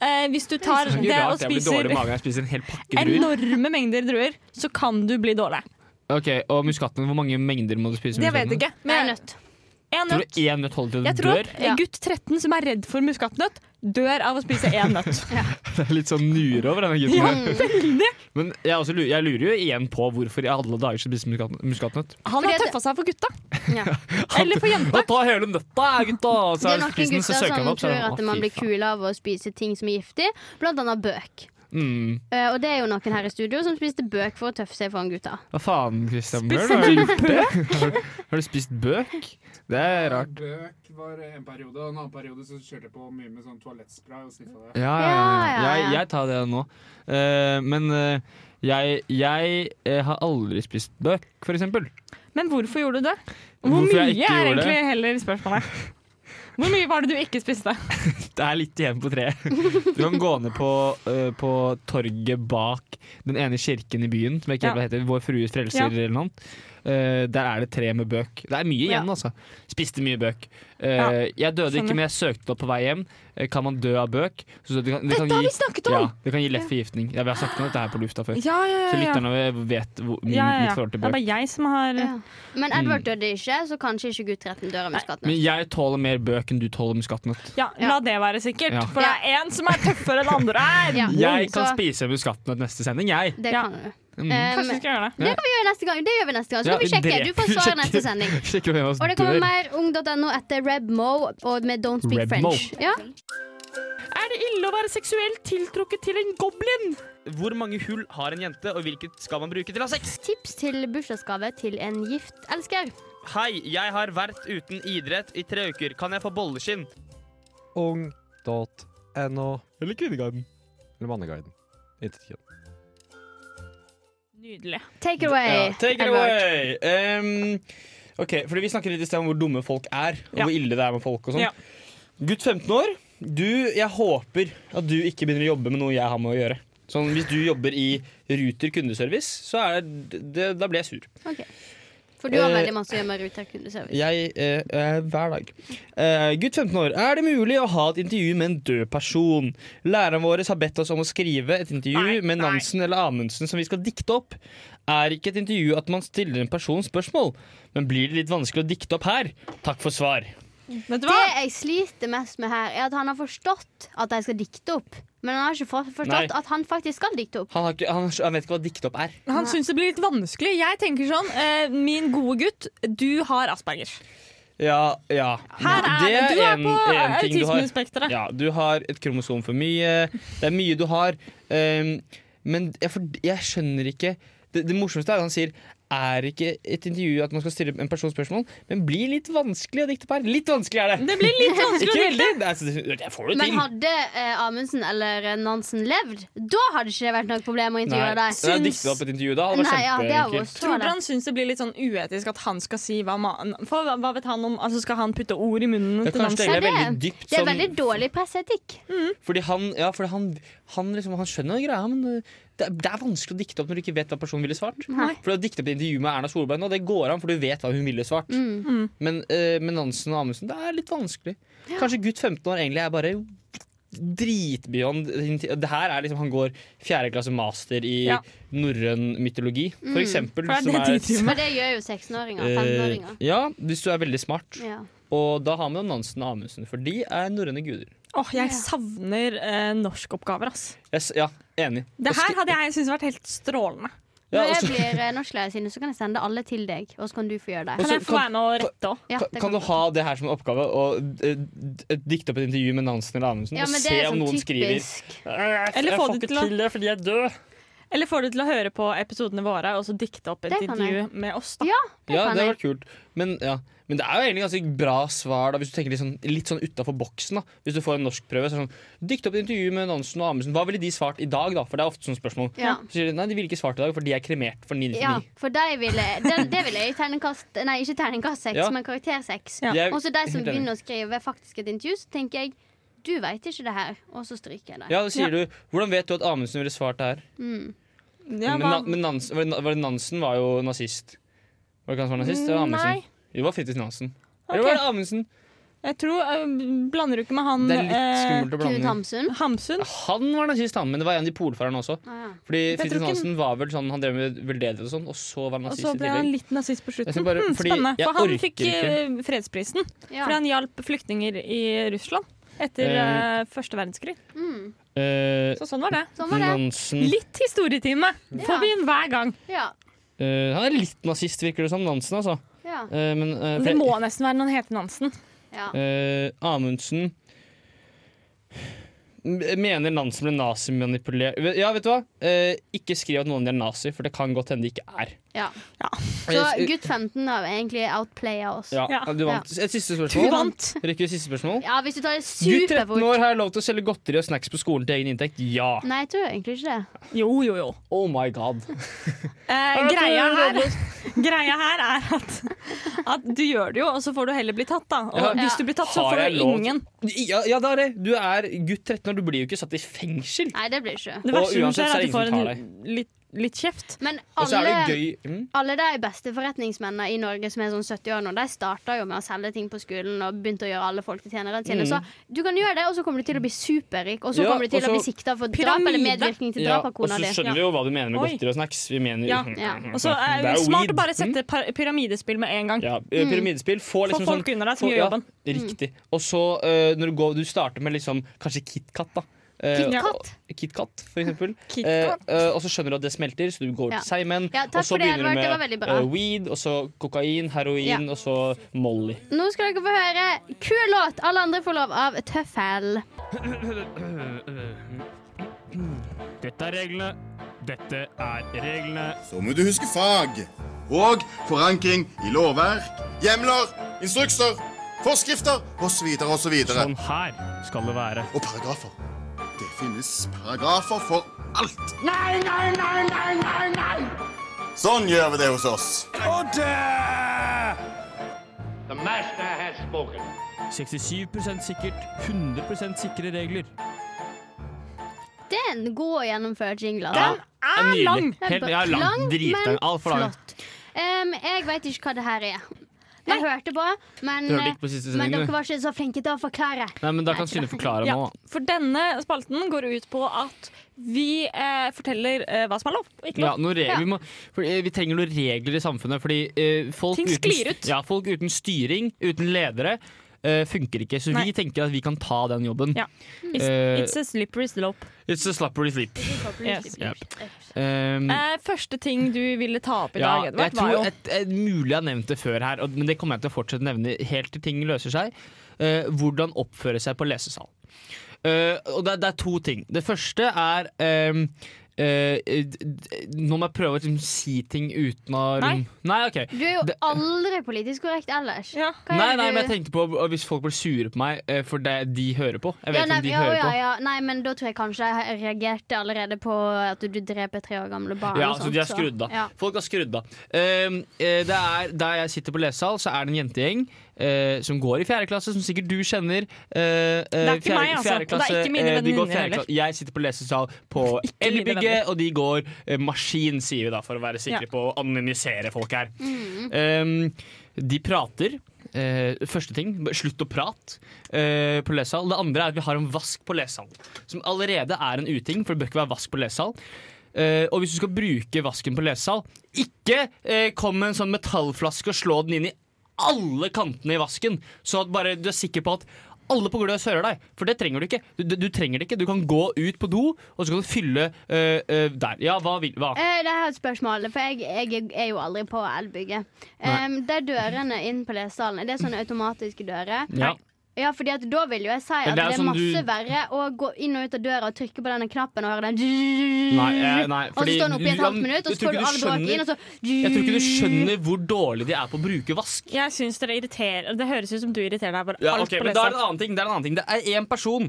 [SPEAKER 1] Eh, hvis du tar
[SPEAKER 2] Det er
[SPEAKER 1] det,
[SPEAKER 2] ikke
[SPEAKER 1] og
[SPEAKER 2] rart jeg blir
[SPEAKER 1] spiser
[SPEAKER 2] dårlig i magen når jeg spiser en hel pakke druer.
[SPEAKER 1] enorme mengder druer, så kan du bli dårlig.
[SPEAKER 2] Ok, Og muskatnøtt, hvor mange mengder må du spise?
[SPEAKER 1] Det vet jeg ikke.
[SPEAKER 3] Med en
[SPEAKER 1] Men
[SPEAKER 3] nøtt.
[SPEAKER 1] en
[SPEAKER 2] Tror
[SPEAKER 1] nøtt.
[SPEAKER 2] du én nøtt holder til
[SPEAKER 1] Jeg
[SPEAKER 2] du
[SPEAKER 1] tror
[SPEAKER 2] dør?
[SPEAKER 1] at
[SPEAKER 3] Ja.
[SPEAKER 1] gutt 13 som er redd for muskatnøtt, dør av å spise én nøtt.
[SPEAKER 2] Det er litt sånn nyere over denne gutten. her. Men jeg, også lurer, jeg lurer jo igjen på hvorfor i alle dager skal spise muskatnøtt. muskatnøtt.
[SPEAKER 1] Han
[SPEAKER 3] Fordi
[SPEAKER 1] har
[SPEAKER 3] at-
[SPEAKER 1] tøffa seg for gutta.
[SPEAKER 3] Ja.
[SPEAKER 1] Eller for jenta.
[SPEAKER 2] Og ta hele nøtta, gutta! og
[SPEAKER 3] Det
[SPEAKER 2] Så
[SPEAKER 3] er
[SPEAKER 2] er
[SPEAKER 3] noen
[SPEAKER 2] spisen,
[SPEAKER 3] gutter
[SPEAKER 2] så søker han
[SPEAKER 3] som
[SPEAKER 2] opp. så er
[SPEAKER 3] tror
[SPEAKER 2] han,
[SPEAKER 3] at
[SPEAKER 2] «Å,
[SPEAKER 3] man
[SPEAKER 2] fy
[SPEAKER 3] blir
[SPEAKER 2] faen».
[SPEAKER 3] kul av å spise ting som er giftig, blant annet bøk.
[SPEAKER 2] Mm.
[SPEAKER 3] Eh, og det er jo noen her i studio som spiste bøk for å tøffe seg foran gutta.
[SPEAKER 2] Hva faen, Christian Bøhl?
[SPEAKER 1] Spiser
[SPEAKER 2] Har du gjort det? Har du- Har du spist bøk? Det er rart.
[SPEAKER 5] Bøk var en periode, og en annen periode så kjørte jeg på mye med sånn toalettspray og sniffa det.
[SPEAKER 2] Ja, ja, ja,
[SPEAKER 3] Ja, ja,
[SPEAKER 2] Jeg,
[SPEAKER 3] ja.
[SPEAKER 2] jeg tar det nå. Eh, men eh, jeg, jeg eh, har aldri spist bøk, for eksempel.
[SPEAKER 1] Men hvorfor gjorde du det? Hvor
[SPEAKER 2] Hvorfor jeg
[SPEAKER 1] mye
[SPEAKER 2] ikke
[SPEAKER 1] er
[SPEAKER 2] gjorde det?
[SPEAKER 1] egentlig heller spørsmålet? Hvor mye var det du ikke spiste?
[SPEAKER 2] Det er litt igjen på treet. Du kan gå ned på, eh, på torget bak den ene kirken i byen, som jeg ikke helt
[SPEAKER 1] Ja.
[SPEAKER 2] vet hva heter, Vår Frues Frelser
[SPEAKER 1] Ja.
[SPEAKER 2] eller noe. annet. Eh, der er det tre med bøk. Det er mye igjen, altså. Spiste mye bøk. Eh,
[SPEAKER 1] Ja,
[SPEAKER 2] Jeg døde
[SPEAKER 1] skjønner.
[SPEAKER 2] ikke, men jeg søkte opp på vei hjem. Eh, Kan man dø av bøk? Så det kan, det kan
[SPEAKER 1] Dette har
[SPEAKER 2] gi,
[SPEAKER 1] vi snakket om!
[SPEAKER 2] ja, det kan gi lett forgiftning. Ja, vi har snakket om dette her på lufta før.
[SPEAKER 1] Ja, ja,
[SPEAKER 2] Så
[SPEAKER 1] ja. ja.
[SPEAKER 2] lytterne vet hvor, min,
[SPEAKER 1] ja, ja,
[SPEAKER 2] mitt
[SPEAKER 1] ja.
[SPEAKER 2] forhold
[SPEAKER 1] Det
[SPEAKER 2] til
[SPEAKER 1] er
[SPEAKER 2] bøk.
[SPEAKER 1] bare jeg som har
[SPEAKER 3] Ja. Men Edward døde ikke, så kanskje ikke gutt 13 dør av muskatnøtt.
[SPEAKER 2] Mm. Men jeg tåler mer bøk enn du tåler muskatnøtt.
[SPEAKER 1] Ja,
[SPEAKER 3] Ja.
[SPEAKER 1] la det være sikkert.
[SPEAKER 2] Ja.
[SPEAKER 1] For det er én som er tøffere enn andre her!
[SPEAKER 3] Ja. Mm,
[SPEAKER 2] Jeg kan
[SPEAKER 3] Så-
[SPEAKER 2] spise muskatnøtt neste sending, jeg.
[SPEAKER 3] Det
[SPEAKER 1] Ja.
[SPEAKER 3] kan du.
[SPEAKER 2] Mm.
[SPEAKER 3] Eh,
[SPEAKER 1] Kanskje vi skal gjøre det.
[SPEAKER 3] det kan vi gjøre neste gang. Det gjør vi neste gang. Så
[SPEAKER 2] Ja,
[SPEAKER 3] kan vi sjekke.
[SPEAKER 2] dreper-
[SPEAKER 3] Du får svar i
[SPEAKER 2] sjekker-
[SPEAKER 3] neste sending.
[SPEAKER 2] Sjekker hvem av
[SPEAKER 3] Og det
[SPEAKER 2] oss dør.
[SPEAKER 3] kommer mer ung.no etter Rebmo og med Don't
[SPEAKER 2] Rebmo.
[SPEAKER 3] Speak French. Ja.
[SPEAKER 1] Er det ille å være seksuelt tiltrukket til en goblin?
[SPEAKER 2] Hvor mange hull har en jente, og hvilket skal man bruke til å ha sex?
[SPEAKER 3] Tips til bursdagsgave til en gift elsker.
[SPEAKER 2] Hei, jeg har vært uten idrett i tre uker. Kan jeg få bolleskinn?
[SPEAKER 7] Ung.no.
[SPEAKER 2] Eller Kvinneguiden.
[SPEAKER 7] Eller Manneguiden. Intet kjønn.
[SPEAKER 1] Nydelig.
[SPEAKER 3] Take it away.
[SPEAKER 2] Ja, take it
[SPEAKER 3] Edvard.
[SPEAKER 2] away! Ehm, ok, fordi Vi snakket litt i sted om hvor dumme folk er, og
[SPEAKER 1] Ja.
[SPEAKER 2] hvor ille det er med folk. og sånn
[SPEAKER 1] Ja.
[SPEAKER 2] Gutt 15 år, du, jeg håper at du ikke begynner å jobbe med noe jeg har med å gjøre. Sånn, Hvis du jobber i Ruter kundeservice, så er det, det, da blir jeg sur.
[SPEAKER 3] For du har
[SPEAKER 2] Eh,
[SPEAKER 3] veldig masse å gjøre med Ruter kundeservice.
[SPEAKER 2] Jeg eh, eh, Hver dag. Eh, gutt 15 år. Er det mulig å ha et intervju med en død person? Læreren vår har bedt oss om å skrive et intervju
[SPEAKER 1] Nei,
[SPEAKER 2] med
[SPEAKER 1] nei.
[SPEAKER 2] Nansen eller Amundsen som vi skal dikte opp. Er ikke et intervju at man stiller en person spørsmål, men blir det litt vanskelig å dikte opp her? Takk for svar.
[SPEAKER 1] Vet du
[SPEAKER 3] Det
[SPEAKER 1] hva?
[SPEAKER 2] Ah!
[SPEAKER 3] jeg sliter mest med her, er at han har forstått at de skal dikte opp. Men han har ikke for- forstått
[SPEAKER 2] Nei.
[SPEAKER 3] at han faktisk skal dikte opp.
[SPEAKER 2] Han, har ikke, han, han vet ikke hva dikte opp er.
[SPEAKER 1] Han syns det blir litt vanskelig. Jeg tenker sånn, eh, min gode gutt, du har asperger.
[SPEAKER 2] Ja, ja.
[SPEAKER 1] Her er det. Du er på autismespekteret.
[SPEAKER 2] Ja, du har et kromosom for mye. Det er mye du har. Ehm, men jeg, for, jeg skjønner ikke det, det morsomste er at han sier er ikke et intervju at man skal stille en person spørsmål, men blir litt vanskelig å dikte på her. Litt vanskelig er det!
[SPEAKER 1] Det blir litt vanskelig
[SPEAKER 2] Ikke
[SPEAKER 1] å
[SPEAKER 2] veldig! Det er, jeg får jo
[SPEAKER 3] Men
[SPEAKER 2] ting.
[SPEAKER 3] hadde eh, Amundsen eller eh, Nansen levd, da hadde ikke det vært noe problem å intervjue
[SPEAKER 2] Nei,
[SPEAKER 3] deg.
[SPEAKER 2] det er diktet opp et intervju da. Det var
[SPEAKER 3] Nei, ja, det er jo
[SPEAKER 2] kjempeenkelt.
[SPEAKER 3] også
[SPEAKER 1] Tror dere
[SPEAKER 3] det.
[SPEAKER 1] han syns det blir litt sånn uetisk at han skal si hva man For hva- hva vet han om Altså Skal han putte ord i munnen
[SPEAKER 2] Det
[SPEAKER 1] til
[SPEAKER 2] er kanskje egentlig
[SPEAKER 1] Nansen?
[SPEAKER 3] Ja,
[SPEAKER 2] veldig dypt.
[SPEAKER 3] Det er
[SPEAKER 2] sånn-
[SPEAKER 3] veldig dårlig presseetikk.
[SPEAKER 2] Fordi han, ja, fordi han, han, liksom, han skjønner greia, men uh, det, er- det er vanskelig å dikte opp når du ikke vet hva personen ville svart.
[SPEAKER 3] Nei.
[SPEAKER 2] For å dikte opp et intervju med Erna Solberg nå, det går an, for du vet hva hun ville svart.
[SPEAKER 3] Mm.
[SPEAKER 2] Men uh, med Nansen og Amundsen, det er litt vanskelig. Kanskje gutt 15 år egentlig er bare dritbeyond Det her er liksom Han går fjerde klasse master i
[SPEAKER 1] Ja.
[SPEAKER 2] norrøn mytologi, for
[SPEAKER 3] Mm.
[SPEAKER 2] eksempel.
[SPEAKER 1] For det er
[SPEAKER 2] som
[SPEAKER 1] det de driver
[SPEAKER 3] For det gjør jo 16-åringer.
[SPEAKER 2] eh,
[SPEAKER 3] 15-åringer.
[SPEAKER 2] ja, hvis du er veldig smart.
[SPEAKER 3] Ja.
[SPEAKER 2] Og da har man jo Nansen og Amundsen, for de er norrøne guder.
[SPEAKER 1] Åh, Jeg savner eh, norskoppgaver. ass.
[SPEAKER 2] Jeg s- ja, enig.
[SPEAKER 1] Det
[SPEAKER 2] Og sk-
[SPEAKER 1] her hadde jeg syntes vært helt strålende.
[SPEAKER 2] ja,
[SPEAKER 3] Når
[SPEAKER 2] og
[SPEAKER 3] jeg
[SPEAKER 2] så-
[SPEAKER 3] blir eh, norsklærer sine, så kan jeg sende alle til deg, og så kan du få gjøre det.
[SPEAKER 2] Og
[SPEAKER 1] Kan
[SPEAKER 2] så
[SPEAKER 1] jeg få
[SPEAKER 2] kan-
[SPEAKER 1] være med å rette òg?
[SPEAKER 3] Ja,
[SPEAKER 2] Altså, kan,
[SPEAKER 3] det
[SPEAKER 2] kan du
[SPEAKER 3] du.
[SPEAKER 2] ha det her som oppgave å eh, d- dikte opp et intervju med Nansen eller Amundsen
[SPEAKER 3] Ja,
[SPEAKER 2] og
[SPEAKER 3] men
[SPEAKER 2] se
[SPEAKER 3] det er
[SPEAKER 2] om
[SPEAKER 3] sånn
[SPEAKER 2] noen skriver
[SPEAKER 3] typisk.
[SPEAKER 1] Eller
[SPEAKER 2] Jeg
[SPEAKER 1] få
[SPEAKER 2] får
[SPEAKER 1] det
[SPEAKER 2] ikke
[SPEAKER 1] til å-
[SPEAKER 2] det fordi jeg er død.
[SPEAKER 1] Eller får du til å høre på episodene våre og så dikte opp et
[SPEAKER 3] Det kan
[SPEAKER 1] intervju med oss? da?
[SPEAKER 3] Ja. Det
[SPEAKER 2] Ja,
[SPEAKER 3] kan
[SPEAKER 2] det hadde
[SPEAKER 3] jeg.
[SPEAKER 2] vært kult. Men, ja. men det er jo egentlig ganske bra svar da, hvis du tenker litt sånn, litt sånn utafor boksen. da Hvis du får en norskprøve. så er det Sånn, Dikt opp et intervju med Nansen og Amundsen. Hva ville de svart i dag, da? For det er ofte sånne spørsmål.
[SPEAKER 3] Ja.
[SPEAKER 2] Så sier de nei, de ville ikke svart i dag, for de er kremert for 999.
[SPEAKER 3] Ja, for de ville, den, det ville jeg i terningkast Nei, ikke terningkast seks,
[SPEAKER 2] Ja.
[SPEAKER 3] men karakter seks.
[SPEAKER 1] Ja.
[SPEAKER 2] Jeg er
[SPEAKER 3] Og så de som
[SPEAKER 2] helt enig.
[SPEAKER 3] begynner å skrive faktisk et intervju, så tenker jeg du veit ikke det her, og så stryker jeg det.
[SPEAKER 2] Ja, da sier du Hvordan vet du at Amundsen ville svart det her?
[SPEAKER 3] Mm.
[SPEAKER 1] Ja,
[SPEAKER 2] men,
[SPEAKER 1] hva-
[SPEAKER 2] Na- men Nansen, var det, var det Nansen var jo nazist. Var det ikke han som var nazist? Det var Amundsen.
[SPEAKER 1] Nei.
[SPEAKER 2] Jo, det var Fridtjof Nansen.
[SPEAKER 1] Ok.
[SPEAKER 2] Eller var det Amundsen?
[SPEAKER 1] Jeg tror eh, Blander du ikke med han
[SPEAKER 2] Det er litt
[SPEAKER 1] eh,
[SPEAKER 2] skummelt å
[SPEAKER 3] Knut
[SPEAKER 2] blande inn.
[SPEAKER 3] Hamsun.
[SPEAKER 1] Hamsun?
[SPEAKER 2] Han var nazist, han, men det var en av de polfarerne også.
[SPEAKER 3] Ah, ja.
[SPEAKER 2] Fordi
[SPEAKER 1] Jeg tror
[SPEAKER 2] Fridtjof
[SPEAKER 1] ikke-
[SPEAKER 2] Nansen var vel sånn, han drev med veldedighet og sånn, og så var han
[SPEAKER 1] Og
[SPEAKER 2] nazist
[SPEAKER 1] så
[SPEAKER 2] i
[SPEAKER 1] ble han
[SPEAKER 2] tillegg.
[SPEAKER 1] litt nazist
[SPEAKER 2] Jeg
[SPEAKER 1] på
[SPEAKER 2] skal
[SPEAKER 1] slutten.
[SPEAKER 2] bare-
[SPEAKER 1] Hmm,
[SPEAKER 2] fordi
[SPEAKER 1] spennende.
[SPEAKER 2] jeg
[SPEAKER 1] For han
[SPEAKER 2] orker
[SPEAKER 1] fikk
[SPEAKER 2] ikke.
[SPEAKER 1] eh, fredsprisen.
[SPEAKER 3] Ja.
[SPEAKER 1] Fordi han hjalp flyktninger i Russland etter
[SPEAKER 2] Eh.
[SPEAKER 1] eh, første verdenskrig.
[SPEAKER 3] Mm.
[SPEAKER 2] Eh,
[SPEAKER 1] Så sånn var det.
[SPEAKER 3] Sånn var det.
[SPEAKER 2] Nansen
[SPEAKER 1] Litt historietime
[SPEAKER 3] Ja.
[SPEAKER 1] får vi inn hver gang.
[SPEAKER 3] Ja.
[SPEAKER 2] eh, Han er litt nazist, virker det som. Nansen, altså.
[SPEAKER 3] Ja.
[SPEAKER 2] Eh, men eh,
[SPEAKER 1] Det må nesten være noen hete Nansen.
[SPEAKER 3] ja.
[SPEAKER 2] eh, Amundsen Mener Nansen ble nazimanipulert Ja, vet du hva? Eh, ikke skriv at noen er nazi, for det kan godt hende de ikke er.
[SPEAKER 3] ja.
[SPEAKER 1] Ja.
[SPEAKER 3] Så gutt 15 har egentlig outplaya oss.
[SPEAKER 2] Ja,
[SPEAKER 1] Ja.
[SPEAKER 2] du vant. Et siste
[SPEAKER 1] Du
[SPEAKER 2] spørsmål.
[SPEAKER 1] vant!
[SPEAKER 2] Rekker vi siste spørsmål?
[SPEAKER 3] Ja, hvis du tar det
[SPEAKER 2] Gutt 13
[SPEAKER 3] superfort
[SPEAKER 2] år, har jeg lov til å selge godteri og snacks på skolen til egen inntekt? Ja!
[SPEAKER 3] Nei, jeg tror egentlig ikke det.
[SPEAKER 1] Jo, jo, jo.
[SPEAKER 2] Oh my god.
[SPEAKER 1] Eh, greia, her, greia her er at, at du gjør det jo, og så får du heller bli tatt, da. Og
[SPEAKER 2] Ja.
[SPEAKER 1] hvis du blir tatt, så
[SPEAKER 2] Har
[SPEAKER 1] får
[SPEAKER 2] jeg
[SPEAKER 1] du
[SPEAKER 2] lov-
[SPEAKER 1] ingen.
[SPEAKER 2] Ja, ja, det er det. Du er gutt 13 år, du blir jo ikke satt i fengsel.
[SPEAKER 3] Nei, det blir ikke.
[SPEAKER 1] Det
[SPEAKER 2] Og
[SPEAKER 1] verste som
[SPEAKER 2] uansett så er
[SPEAKER 1] skjer, er at
[SPEAKER 2] det
[SPEAKER 1] du
[SPEAKER 2] ingen
[SPEAKER 1] får
[SPEAKER 2] som
[SPEAKER 1] en litt, litt kjeft.
[SPEAKER 3] Men
[SPEAKER 2] Og så er det
[SPEAKER 3] alle,
[SPEAKER 2] gøy mm.
[SPEAKER 3] alle de beste forretningsmennene i Norge som er sånn 70 år nå, de starta jo med å selge ting på skolen og begynte å gjøre alle folk til tjenerne sine.
[SPEAKER 2] Mm.
[SPEAKER 3] Så du kan gjøre det, og så kommer du til å bli superrik, og så
[SPEAKER 2] Ja,
[SPEAKER 3] kommer du
[SPEAKER 2] og
[SPEAKER 3] til å
[SPEAKER 2] så-
[SPEAKER 3] bli sikta for drap
[SPEAKER 1] Pyramide.
[SPEAKER 3] eller medvirkning til
[SPEAKER 2] Ja,
[SPEAKER 3] drap av
[SPEAKER 2] og så
[SPEAKER 3] kona di.
[SPEAKER 2] skjønner vi jo hva du mener med
[SPEAKER 1] Oi.
[SPEAKER 2] godteri og snacks. Vi mener
[SPEAKER 1] Ja.
[SPEAKER 3] Ja.
[SPEAKER 1] Og så er det smart å bare sette par- pyramidespill med en gang.
[SPEAKER 2] Mm. ja, eh,
[SPEAKER 3] Mm.
[SPEAKER 2] Pyramidespill. Få
[SPEAKER 1] Få
[SPEAKER 2] liksom sånn
[SPEAKER 1] folk under deg som
[SPEAKER 2] få-
[SPEAKER 1] gjør jobben.
[SPEAKER 2] Riktig. Og så eh, når du går Du starter med liksom kanskje KitKat, da. Eh,
[SPEAKER 3] KitKat?
[SPEAKER 2] og- KitKat, for eksempel.
[SPEAKER 1] Kit
[SPEAKER 2] Eh,
[SPEAKER 1] Kat.
[SPEAKER 2] eh, og så skjønner du at det smelter, så du går
[SPEAKER 3] Ja.
[SPEAKER 2] til seigmenn.
[SPEAKER 3] Ja, takk
[SPEAKER 2] og så
[SPEAKER 3] for det,
[SPEAKER 2] begynner
[SPEAKER 3] Edvard. Det var
[SPEAKER 2] du
[SPEAKER 3] veldig
[SPEAKER 2] med
[SPEAKER 3] bra.
[SPEAKER 2] eh, weed, og så kokain, heroin,
[SPEAKER 3] Ja.
[SPEAKER 2] og så Molly.
[SPEAKER 3] Nå skal dere få høre kul låt. Alle andre får lov av Tøffel.
[SPEAKER 2] Det
[SPEAKER 8] Eh, mm. Dette er reglene. Dette er reglene.
[SPEAKER 9] Så må du huske fag og forankring i lovverk, hjemler, instrukser, forskrifter osv. osv.
[SPEAKER 8] Sånn her skal det være.
[SPEAKER 9] Og paragrafer. Det finnes paragrafer for alt. Nei, nei, nei, nei, nei, nei! Sånn gjør vi det hos oss.
[SPEAKER 2] 67 sikkert, 100 sikre regler.
[SPEAKER 3] Det er en god gjennomført jingle.
[SPEAKER 2] Ja,
[SPEAKER 3] altså.
[SPEAKER 2] er nydelig.
[SPEAKER 1] lang.
[SPEAKER 2] Helt, ja, lang.
[SPEAKER 3] Lang,
[SPEAKER 2] Dritlang.
[SPEAKER 3] men
[SPEAKER 2] Altfor lang.
[SPEAKER 3] flott. Em, jeg veit ikke hva det her er. Jeg hørte på, men, eh,
[SPEAKER 2] Du hørte ikke på siste
[SPEAKER 3] men
[SPEAKER 2] sendingen,
[SPEAKER 3] dere
[SPEAKER 2] du.
[SPEAKER 3] var ikke så flinke til å forklare.
[SPEAKER 2] Nei, men Da kan Synne forklare
[SPEAKER 1] Ja,
[SPEAKER 2] nå. da.
[SPEAKER 1] for denne spalten går ut på at vi eh, forteller eh, hva som er lov og ikke
[SPEAKER 2] Ja,
[SPEAKER 1] lov.
[SPEAKER 2] noen regler,
[SPEAKER 3] Ja.
[SPEAKER 2] vi, må, for, eh, vi trenger noen regler i samfunnet, fordi eh, folk,
[SPEAKER 1] Ting sklir ut.
[SPEAKER 2] Ja, folk uten styring, uten ledere, eh, funker ikke. Så
[SPEAKER 1] Nei.
[SPEAKER 2] vi tenker at vi kan ta den jobben.
[SPEAKER 1] Ja. It's,
[SPEAKER 2] Eh,
[SPEAKER 1] it's a slippery slope.
[SPEAKER 2] It's a Eh, slippery sleep.
[SPEAKER 1] Yes.
[SPEAKER 2] Ja. Um,
[SPEAKER 1] Eh, første ting du ville ta opp i
[SPEAKER 2] ja,
[SPEAKER 1] dag,
[SPEAKER 2] jeg
[SPEAKER 1] Edvard, var
[SPEAKER 2] tror
[SPEAKER 1] jo
[SPEAKER 2] et, et, Mulig jeg har nevnt det før her, og, men det kommer jeg til å fortsette å nevne helt til ting løser seg. Eh, hvordan oppføre seg på lesesal. Eh, og det, er- det er to ting. Det første er ehm, eh, d- d- Nå må jeg prøve å liksom, si ting uten å
[SPEAKER 1] Nei.
[SPEAKER 2] Nei, ok.
[SPEAKER 3] Du er jo
[SPEAKER 2] Det-
[SPEAKER 3] aldri politisk korrekt ellers.
[SPEAKER 1] Ja.
[SPEAKER 3] Hva
[SPEAKER 2] Nei,
[SPEAKER 3] er
[SPEAKER 2] nei,
[SPEAKER 3] du-
[SPEAKER 2] men jeg tenkte på eh, hvis folk blir sure på meg eh, for det de hører på. Jeg vet
[SPEAKER 3] ja, nei,
[SPEAKER 2] om de
[SPEAKER 3] ja,
[SPEAKER 2] hører
[SPEAKER 3] ja,
[SPEAKER 2] på.
[SPEAKER 3] ja. nei, men da tror jeg kanskje jeg reagerte allerede på at du dreper tre år gamle barn.
[SPEAKER 2] Ja,
[SPEAKER 3] og
[SPEAKER 2] så
[SPEAKER 3] sånt,
[SPEAKER 2] de har skrudd av.
[SPEAKER 3] Ja.
[SPEAKER 2] Folk har skrudd av. Ehm, eh, det er, der jeg sitter på lesesal, så er det en jentegjeng eh, som går i fjerde klasse, som sikkert du kjenner. Eh, eh,
[SPEAKER 1] er ikke
[SPEAKER 2] fjerde-
[SPEAKER 1] meg, altså.
[SPEAKER 2] fjerde
[SPEAKER 1] Og det er
[SPEAKER 2] klasse,
[SPEAKER 1] ikke mine
[SPEAKER 2] eh, de går
[SPEAKER 1] venninner
[SPEAKER 2] fjerde
[SPEAKER 1] heller.
[SPEAKER 2] klasse. Jeg sitter på lesesal på
[SPEAKER 1] mine venner.
[SPEAKER 2] Elbygget, og de går eh, maskin, sier vi da, for å være sikre
[SPEAKER 1] Ja. Mm.
[SPEAKER 2] på å anonymisere folk her. Ehm, de prater. Eh, første ting, slutt å prate eh, på lesesal. Det andre er at vi har en vask på lesesal, som allerede er en uting, for det bør ikke være vask på lesesal. Eh, og hvis du skal bruke vasken på lesesal, ikke eh, kom med en sånn metallflaske og slå den inn i alle kantene i vasken, så at bare du er sikker på at alle på gulvet hører deg, for det trenger du ikke. Du, du, du trenger det ikke. Du kan gå ut på do, og så kan du fylle eh, eh, der. Ja, hva vil hva?
[SPEAKER 3] Eh, det er et spørsmål, for jeg, jeg er jo aldri på elbygget. Um, de dørene inn på lesesalen, er det sånne automatiske dører?
[SPEAKER 2] Ja.
[SPEAKER 3] Ja, fordi at da vil jo jeg si
[SPEAKER 2] Men
[SPEAKER 3] at
[SPEAKER 2] det
[SPEAKER 3] det
[SPEAKER 2] er
[SPEAKER 3] er,
[SPEAKER 2] som
[SPEAKER 3] masse
[SPEAKER 2] du-
[SPEAKER 3] verre å gå inn og ut av døra og trykke på denne knappen og høre den
[SPEAKER 2] Nei, eh, nei,
[SPEAKER 3] Og så
[SPEAKER 2] fordi
[SPEAKER 3] står den oppe i et
[SPEAKER 2] du-
[SPEAKER 3] halvt minutt, og
[SPEAKER 2] jeg
[SPEAKER 3] så
[SPEAKER 2] tror
[SPEAKER 3] får du
[SPEAKER 2] ikke
[SPEAKER 3] all
[SPEAKER 2] du
[SPEAKER 3] bråket
[SPEAKER 2] skjønner-
[SPEAKER 3] inn, og så
[SPEAKER 2] Jeg tror ikke du skjønner hvor dårlig de er på å bruke vask.
[SPEAKER 1] Jeg syns dere irriterer Det høres ut som du irriterer deg for
[SPEAKER 2] Ja,
[SPEAKER 1] alt
[SPEAKER 2] ok,
[SPEAKER 1] på
[SPEAKER 2] men da er
[SPEAKER 1] lesesal.
[SPEAKER 2] det en annen ting. Det er en annen ting. Det er én person.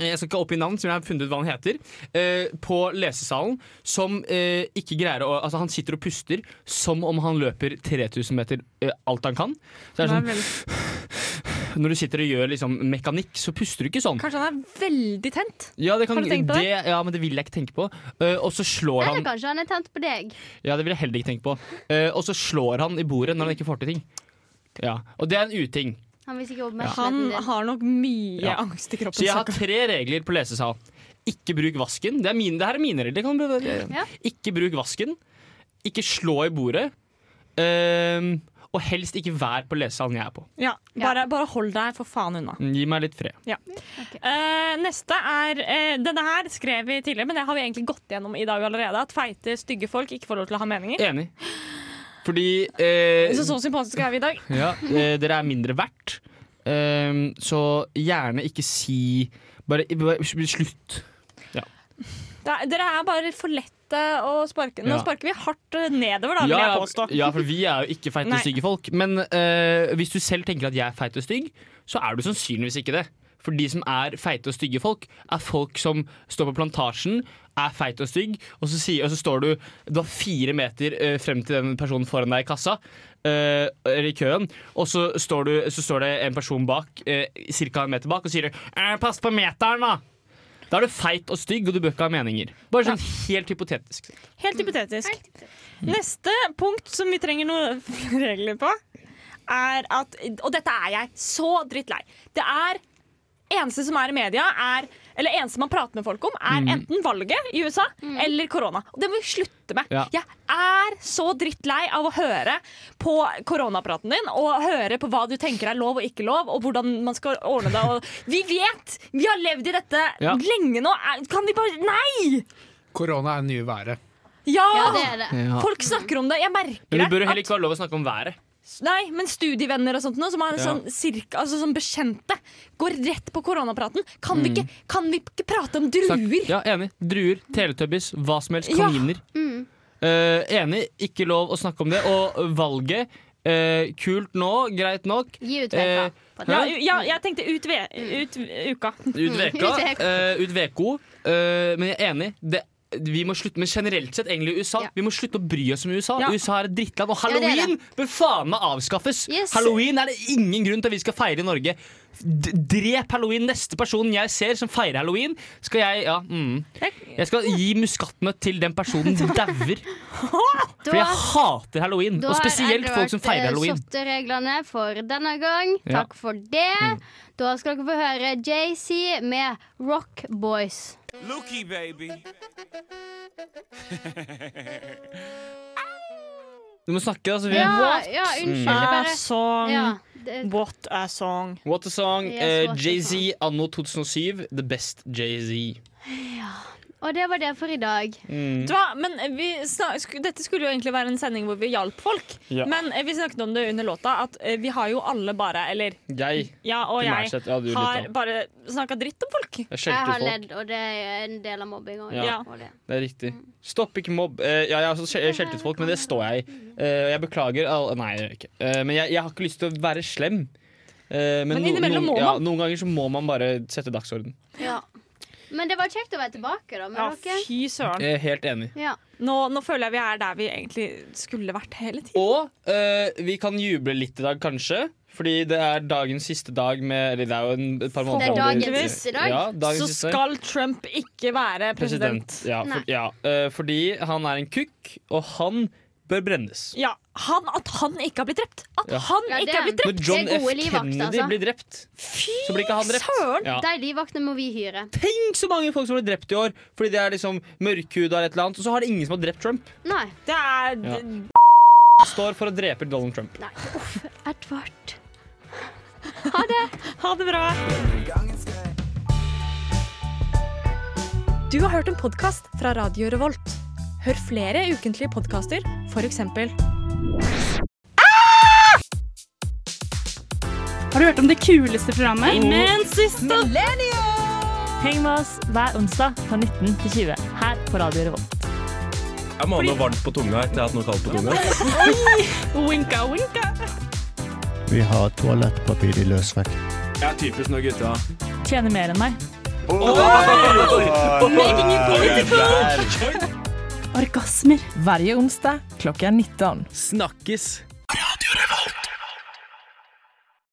[SPEAKER 2] eh, Jeg skal ikke oppgi navn, som jeg har funnet ut hva han heter. eh, på lesesalen. Som eh, ikke greier å Altså, han sitter og puster som om han løper 3000 meter eh, alt han kan. Så det er
[SPEAKER 1] Han
[SPEAKER 2] sånn,
[SPEAKER 1] er veldig,
[SPEAKER 2] Når du sitter og gjør liksom mekanikk, så puster du ikke sånn.
[SPEAKER 1] kanskje han er veldig tent?
[SPEAKER 2] Ja, det kan,
[SPEAKER 1] Har du tenkt på det?
[SPEAKER 2] Ja, men det vil jeg ikke tenke på. Eh, og så slår
[SPEAKER 3] Eller
[SPEAKER 2] han
[SPEAKER 3] kanskje han er tent på deg.
[SPEAKER 2] Ja, det vil jeg heller ikke tenke på. Eh, og så slår han i bordet når han ikke får til ting. Ja, Og det er en uting.
[SPEAKER 3] Han vil sikkert
[SPEAKER 1] Han
[SPEAKER 3] oppmerksomheten din.
[SPEAKER 1] har nok mye
[SPEAKER 2] Ja.
[SPEAKER 1] angst i kroppen.
[SPEAKER 2] Så jeg har
[SPEAKER 1] stakkar.
[SPEAKER 2] tre regler på lesesal. Ikke bruk vasken. Det, er mine, det her er mine regler. Det Kan du bare-
[SPEAKER 3] Ja.
[SPEAKER 2] Ikke bruk vasken. Ikke slå i bordet. Ehm, og helst ikke vær på lesesalen jeg er på. Mm,
[SPEAKER 1] ja, bare, bare hold deg for faen unna.
[SPEAKER 2] Gi meg litt fred.
[SPEAKER 1] Eh, neste er eh, Denne her skrev vi tidligere, men det har vi egentlig gått gjennom i dag allerede. At feite, stygge folk ikke får lov til å ha meninger.
[SPEAKER 2] Enig. Fordi eh,
[SPEAKER 1] Så sånn. så sympatiske er vi i dag.
[SPEAKER 2] ja, eh, Dere er mindre verdt. Ehm, så gjerne ikke si Bare, bare slutt.
[SPEAKER 1] Det er, dere er bare for lette å sparke. Nå
[SPEAKER 2] Ja.
[SPEAKER 1] sparker vi hardt eh, nedover, da, vil jeg påstå.
[SPEAKER 2] ja, for vi er jo ikke feite
[SPEAKER 1] Nei.
[SPEAKER 2] og stygge folk. Men eh, hvis du selv tenker at jeg er feit og stygg, så er du sannsynligvis ikke det. For de som er feite og stygge folk, er folk som står på plantasjen, er feit og stygg, og så, sier, og så står du Du har fire meter eh, frem til den personen foran deg i kassa. eh, eller i køen, og så står, du, så står det en person bak, uh, ca. en meter bak, og sier «Eh, 'pass på meteren', da! Da er du feit og stygg, og du bør ikke ha meninger. Bare sånn helt hypotetisk.
[SPEAKER 1] Helt hypotetisk. Mm. Neste punkt som vi trenger noen regler på, er at Og dette er jeg så drittlei. Det er eneste som er i media, er eller eneste man prater med folk om,
[SPEAKER 2] Mm.
[SPEAKER 1] er enten valget i USA eller korona. Og Det må vi slutte med.
[SPEAKER 2] Ja.
[SPEAKER 1] Jeg er så drittlei av å høre på koronapraten din og høre på hva du tenker er lov og ikke lov, og hvordan man skal ordne det. Og vi vet! Vi har levd i dette
[SPEAKER 2] Ja.
[SPEAKER 1] lenge nå. Er- Kan vi bare Nei!
[SPEAKER 5] Korona er nye været.
[SPEAKER 1] Ja!
[SPEAKER 3] Ja, det er det.
[SPEAKER 2] Ja.
[SPEAKER 1] Folk snakker om det. Jeg merker
[SPEAKER 2] Men
[SPEAKER 1] det.
[SPEAKER 2] det bør jo
[SPEAKER 1] at-
[SPEAKER 2] heller ikke være lov å snakke om været.
[SPEAKER 1] Nei, men studievenner og sånt nå, som er
[SPEAKER 2] Ja.
[SPEAKER 1] sånn, cirka, altså, sånn bekjente, går rett på koronapraten. Kan,
[SPEAKER 2] Mm.
[SPEAKER 1] vi ikke, kan vi ikke prate om druer?
[SPEAKER 2] Ja, enig. Druer, teletubbies, hva som helst.
[SPEAKER 1] Ja. Mm.
[SPEAKER 2] Kaniner. Eh, enig, ikke lov å snakke om det. Og valget eh, Kult nå, greit nok.
[SPEAKER 3] Gi ut
[SPEAKER 2] Eh,
[SPEAKER 3] veka. på
[SPEAKER 1] Ja,
[SPEAKER 3] det.
[SPEAKER 1] u- ja, jeg tenkte ut, ve ut uka.
[SPEAKER 2] Ut veka.
[SPEAKER 3] Ut veka.
[SPEAKER 2] eh, ut veko. Eh, men jeg er enig. Det, vi må slutte, men generelt sett, egentlig i USA,
[SPEAKER 3] Ja.
[SPEAKER 2] vi må slutte å bry oss om USA.
[SPEAKER 1] Ja.
[SPEAKER 2] USA er et drittland. Og
[SPEAKER 3] Ja, det er det.
[SPEAKER 2] halloween bør faen meg avskaffes!
[SPEAKER 3] Yes.
[SPEAKER 2] Halloween er det ingen grunn til at vi skal feire i Norge. D drep halloween. Neste personen jeg ser som feirer halloween, skal jeg Ja. Mm. Jeg skal gi muskatnøtt til den personen som dauer. For jeg hater halloween. Og spesielt folk som feirer halloween.
[SPEAKER 3] reglene eh, for denne gang.
[SPEAKER 2] Ja. Mm.
[SPEAKER 3] Takk for det. Da skal dere få høre JC med Rock Boys.
[SPEAKER 6] Lookie, baby.
[SPEAKER 2] Du må snakke, altså. Vi.
[SPEAKER 3] Ja, ja
[SPEAKER 2] Mm.
[SPEAKER 3] unnskyld. det er
[SPEAKER 2] Ah,
[SPEAKER 3] Bare,
[SPEAKER 1] Eh, song.
[SPEAKER 3] ja, det,
[SPEAKER 1] What a song.
[SPEAKER 2] What a song.
[SPEAKER 3] Yes,
[SPEAKER 2] eh,
[SPEAKER 3] what a
[SPEAKER 2] Jay-Z anno 2007. The best Jay-Z. Mm.
[SPEAKER 3] og det var det for i dag.
[SPEAKER 1] Vet du hva? Men vi snak- sk- dette skulle jo egentlig være en sending hvor vi hjalp folk. Men eh, vi snakket om det under låta, at eh, vi har jo alle bare, eller
[SPEAKER 2] Jeg,
[SPEAKER 1] ja og
[SPEAKER 2] primært
[SPEAKER 1] jeg,
[SPEAKER 2] sett. Ja, du litt,
[SPEAKER 1] har
[SPEAKER 2] da.
[SPEAKER 1] bare snakka dritt om folk.
[SPEAKER 2] Jeg
[SPEAKER 3] Jeg
[SPEAKER 2] skjelte
[SPEAKER 3] har
[SPEAKER 2] ut folk.
[SPEAKER 3] ledd, og det er en del av mobbing. også.
[SPEAKER 2] Ja.
[SPEAKER 3] Og det.
[SPEAKER 2] Det er riktig. Stopp, ikke mobb. Eh, ja, jeg har også skje- jeg skjelte ut folk, men det står jeg i. Eh, og jeg beklager all Nei, jeg gjør ikke. Eh, men jeg, jeg har ikke lyst til å være slem. Eh,
[SPEAKER 1] Men
[SPEAKER 2] no-
[SPEAKER 1] innimellom
[SPEAKER 2] noen-
[SPEAKER 1] må
[SPEAKER 2] ja,
[SPEAKER 1] man.
[SPEAKER 2] Noen ganger så må man bare sette dagsorden.
[SPEAKER 3] Men det var kjekt å være tilbake, da. Med
[SPEAKER 1] Ja,
[SPEAKER 3] dere.
[SPEAKER 1] fy søren.
[SPEAKER 2] Jeg er helt enig.
[SPEAKER 3] Ja.
[SPEAKER 1] Nå, nå føler jeg vi er der vi egentlig skulle vært hele tiden.
[SPEAKER 2] Og eh, vi kan juble litt i dag, kanskje. Fordi det er dagens siste dag med Eller det er jo en, et par måneder
[SPEAKER 1] dagens
[SPEAKER 2] til-
[SPEAKER 3] siste dag.
[SPEAKER 2] Ja, dagens
[SPEAKER 1] Så
[SPEAKER 2] siste dag.
[SPEAKER 1] skal Trump ikke være president.
[SPEAKER 2] president. Ja, for, ja, eh, fordi han er en kukk, og han bør brennes.
[SPEAKER 1] Ja, han, At han ikke har blitt drept! At
[SPEAKER 2] Ja.
[SPEAKER 1] han
[SPEAKER 3] Ja,
[SPEAKER 1] ikke
[SPEAKER 3] det-
[SPEAKER 1] har blitt drept!
[SPEAKER 2] Når John
[SPEAKER 3] Det er
[SPEAKER 2] F.
[SPEAKER 3] gode livvakter,
[SPEAKER 2] Kennedy
[SPEAKER 3] altså.
[SPEAKER 2] blir drept,
[SPEAKER 1] Fy
[SPEAKER 2] så blir ikke han drept.
[SPEAKER 1] søren!
[SPEAKER 2] Ja.
[SPEAKER 3] De livvaktene må vi hyre.
[SPEAKER 2] Tenk så mange folk som ble drept i år fordi de er liksom mørkhuda, eller et eller annet, og så har det ingen som har drept Trump.
[SPEAKER 3] Nei.
[SPEAKER 1] Det er
[SPEAKER 2] Ja. Står for å drepe Donald Trump.
[SPEAKER 3] Edvard.
[SPEAKER 1] Ha det bra! Du har hørt en podkast fra Radio Revolt. Hør flere ukentlige podkaster, f.eks.
[SPEAKER 10] Har du hørt om det kuleste programmet?
[SPEAKER 1] Men sist
[SPEAKER 10] Heng med oss hver onsdag fra 19 til 20 her på Radio Revolt.
[SPEAKER 4] Jeg må ha noe varmt på tunga etter jeg har hatt noe kaldt på tunga.
[SPEAKER 10] Winka, winka.
[SPEAKER 11] Vi har toalettpapir i løsvekt.
[SPEAKER 4] Jeg er typisk når gutta
[SPEAKER 10] Tjener mer enn meg. Orgasmer. Varje onsdag klokka 19.
[SPEAKER 4] Snakkes!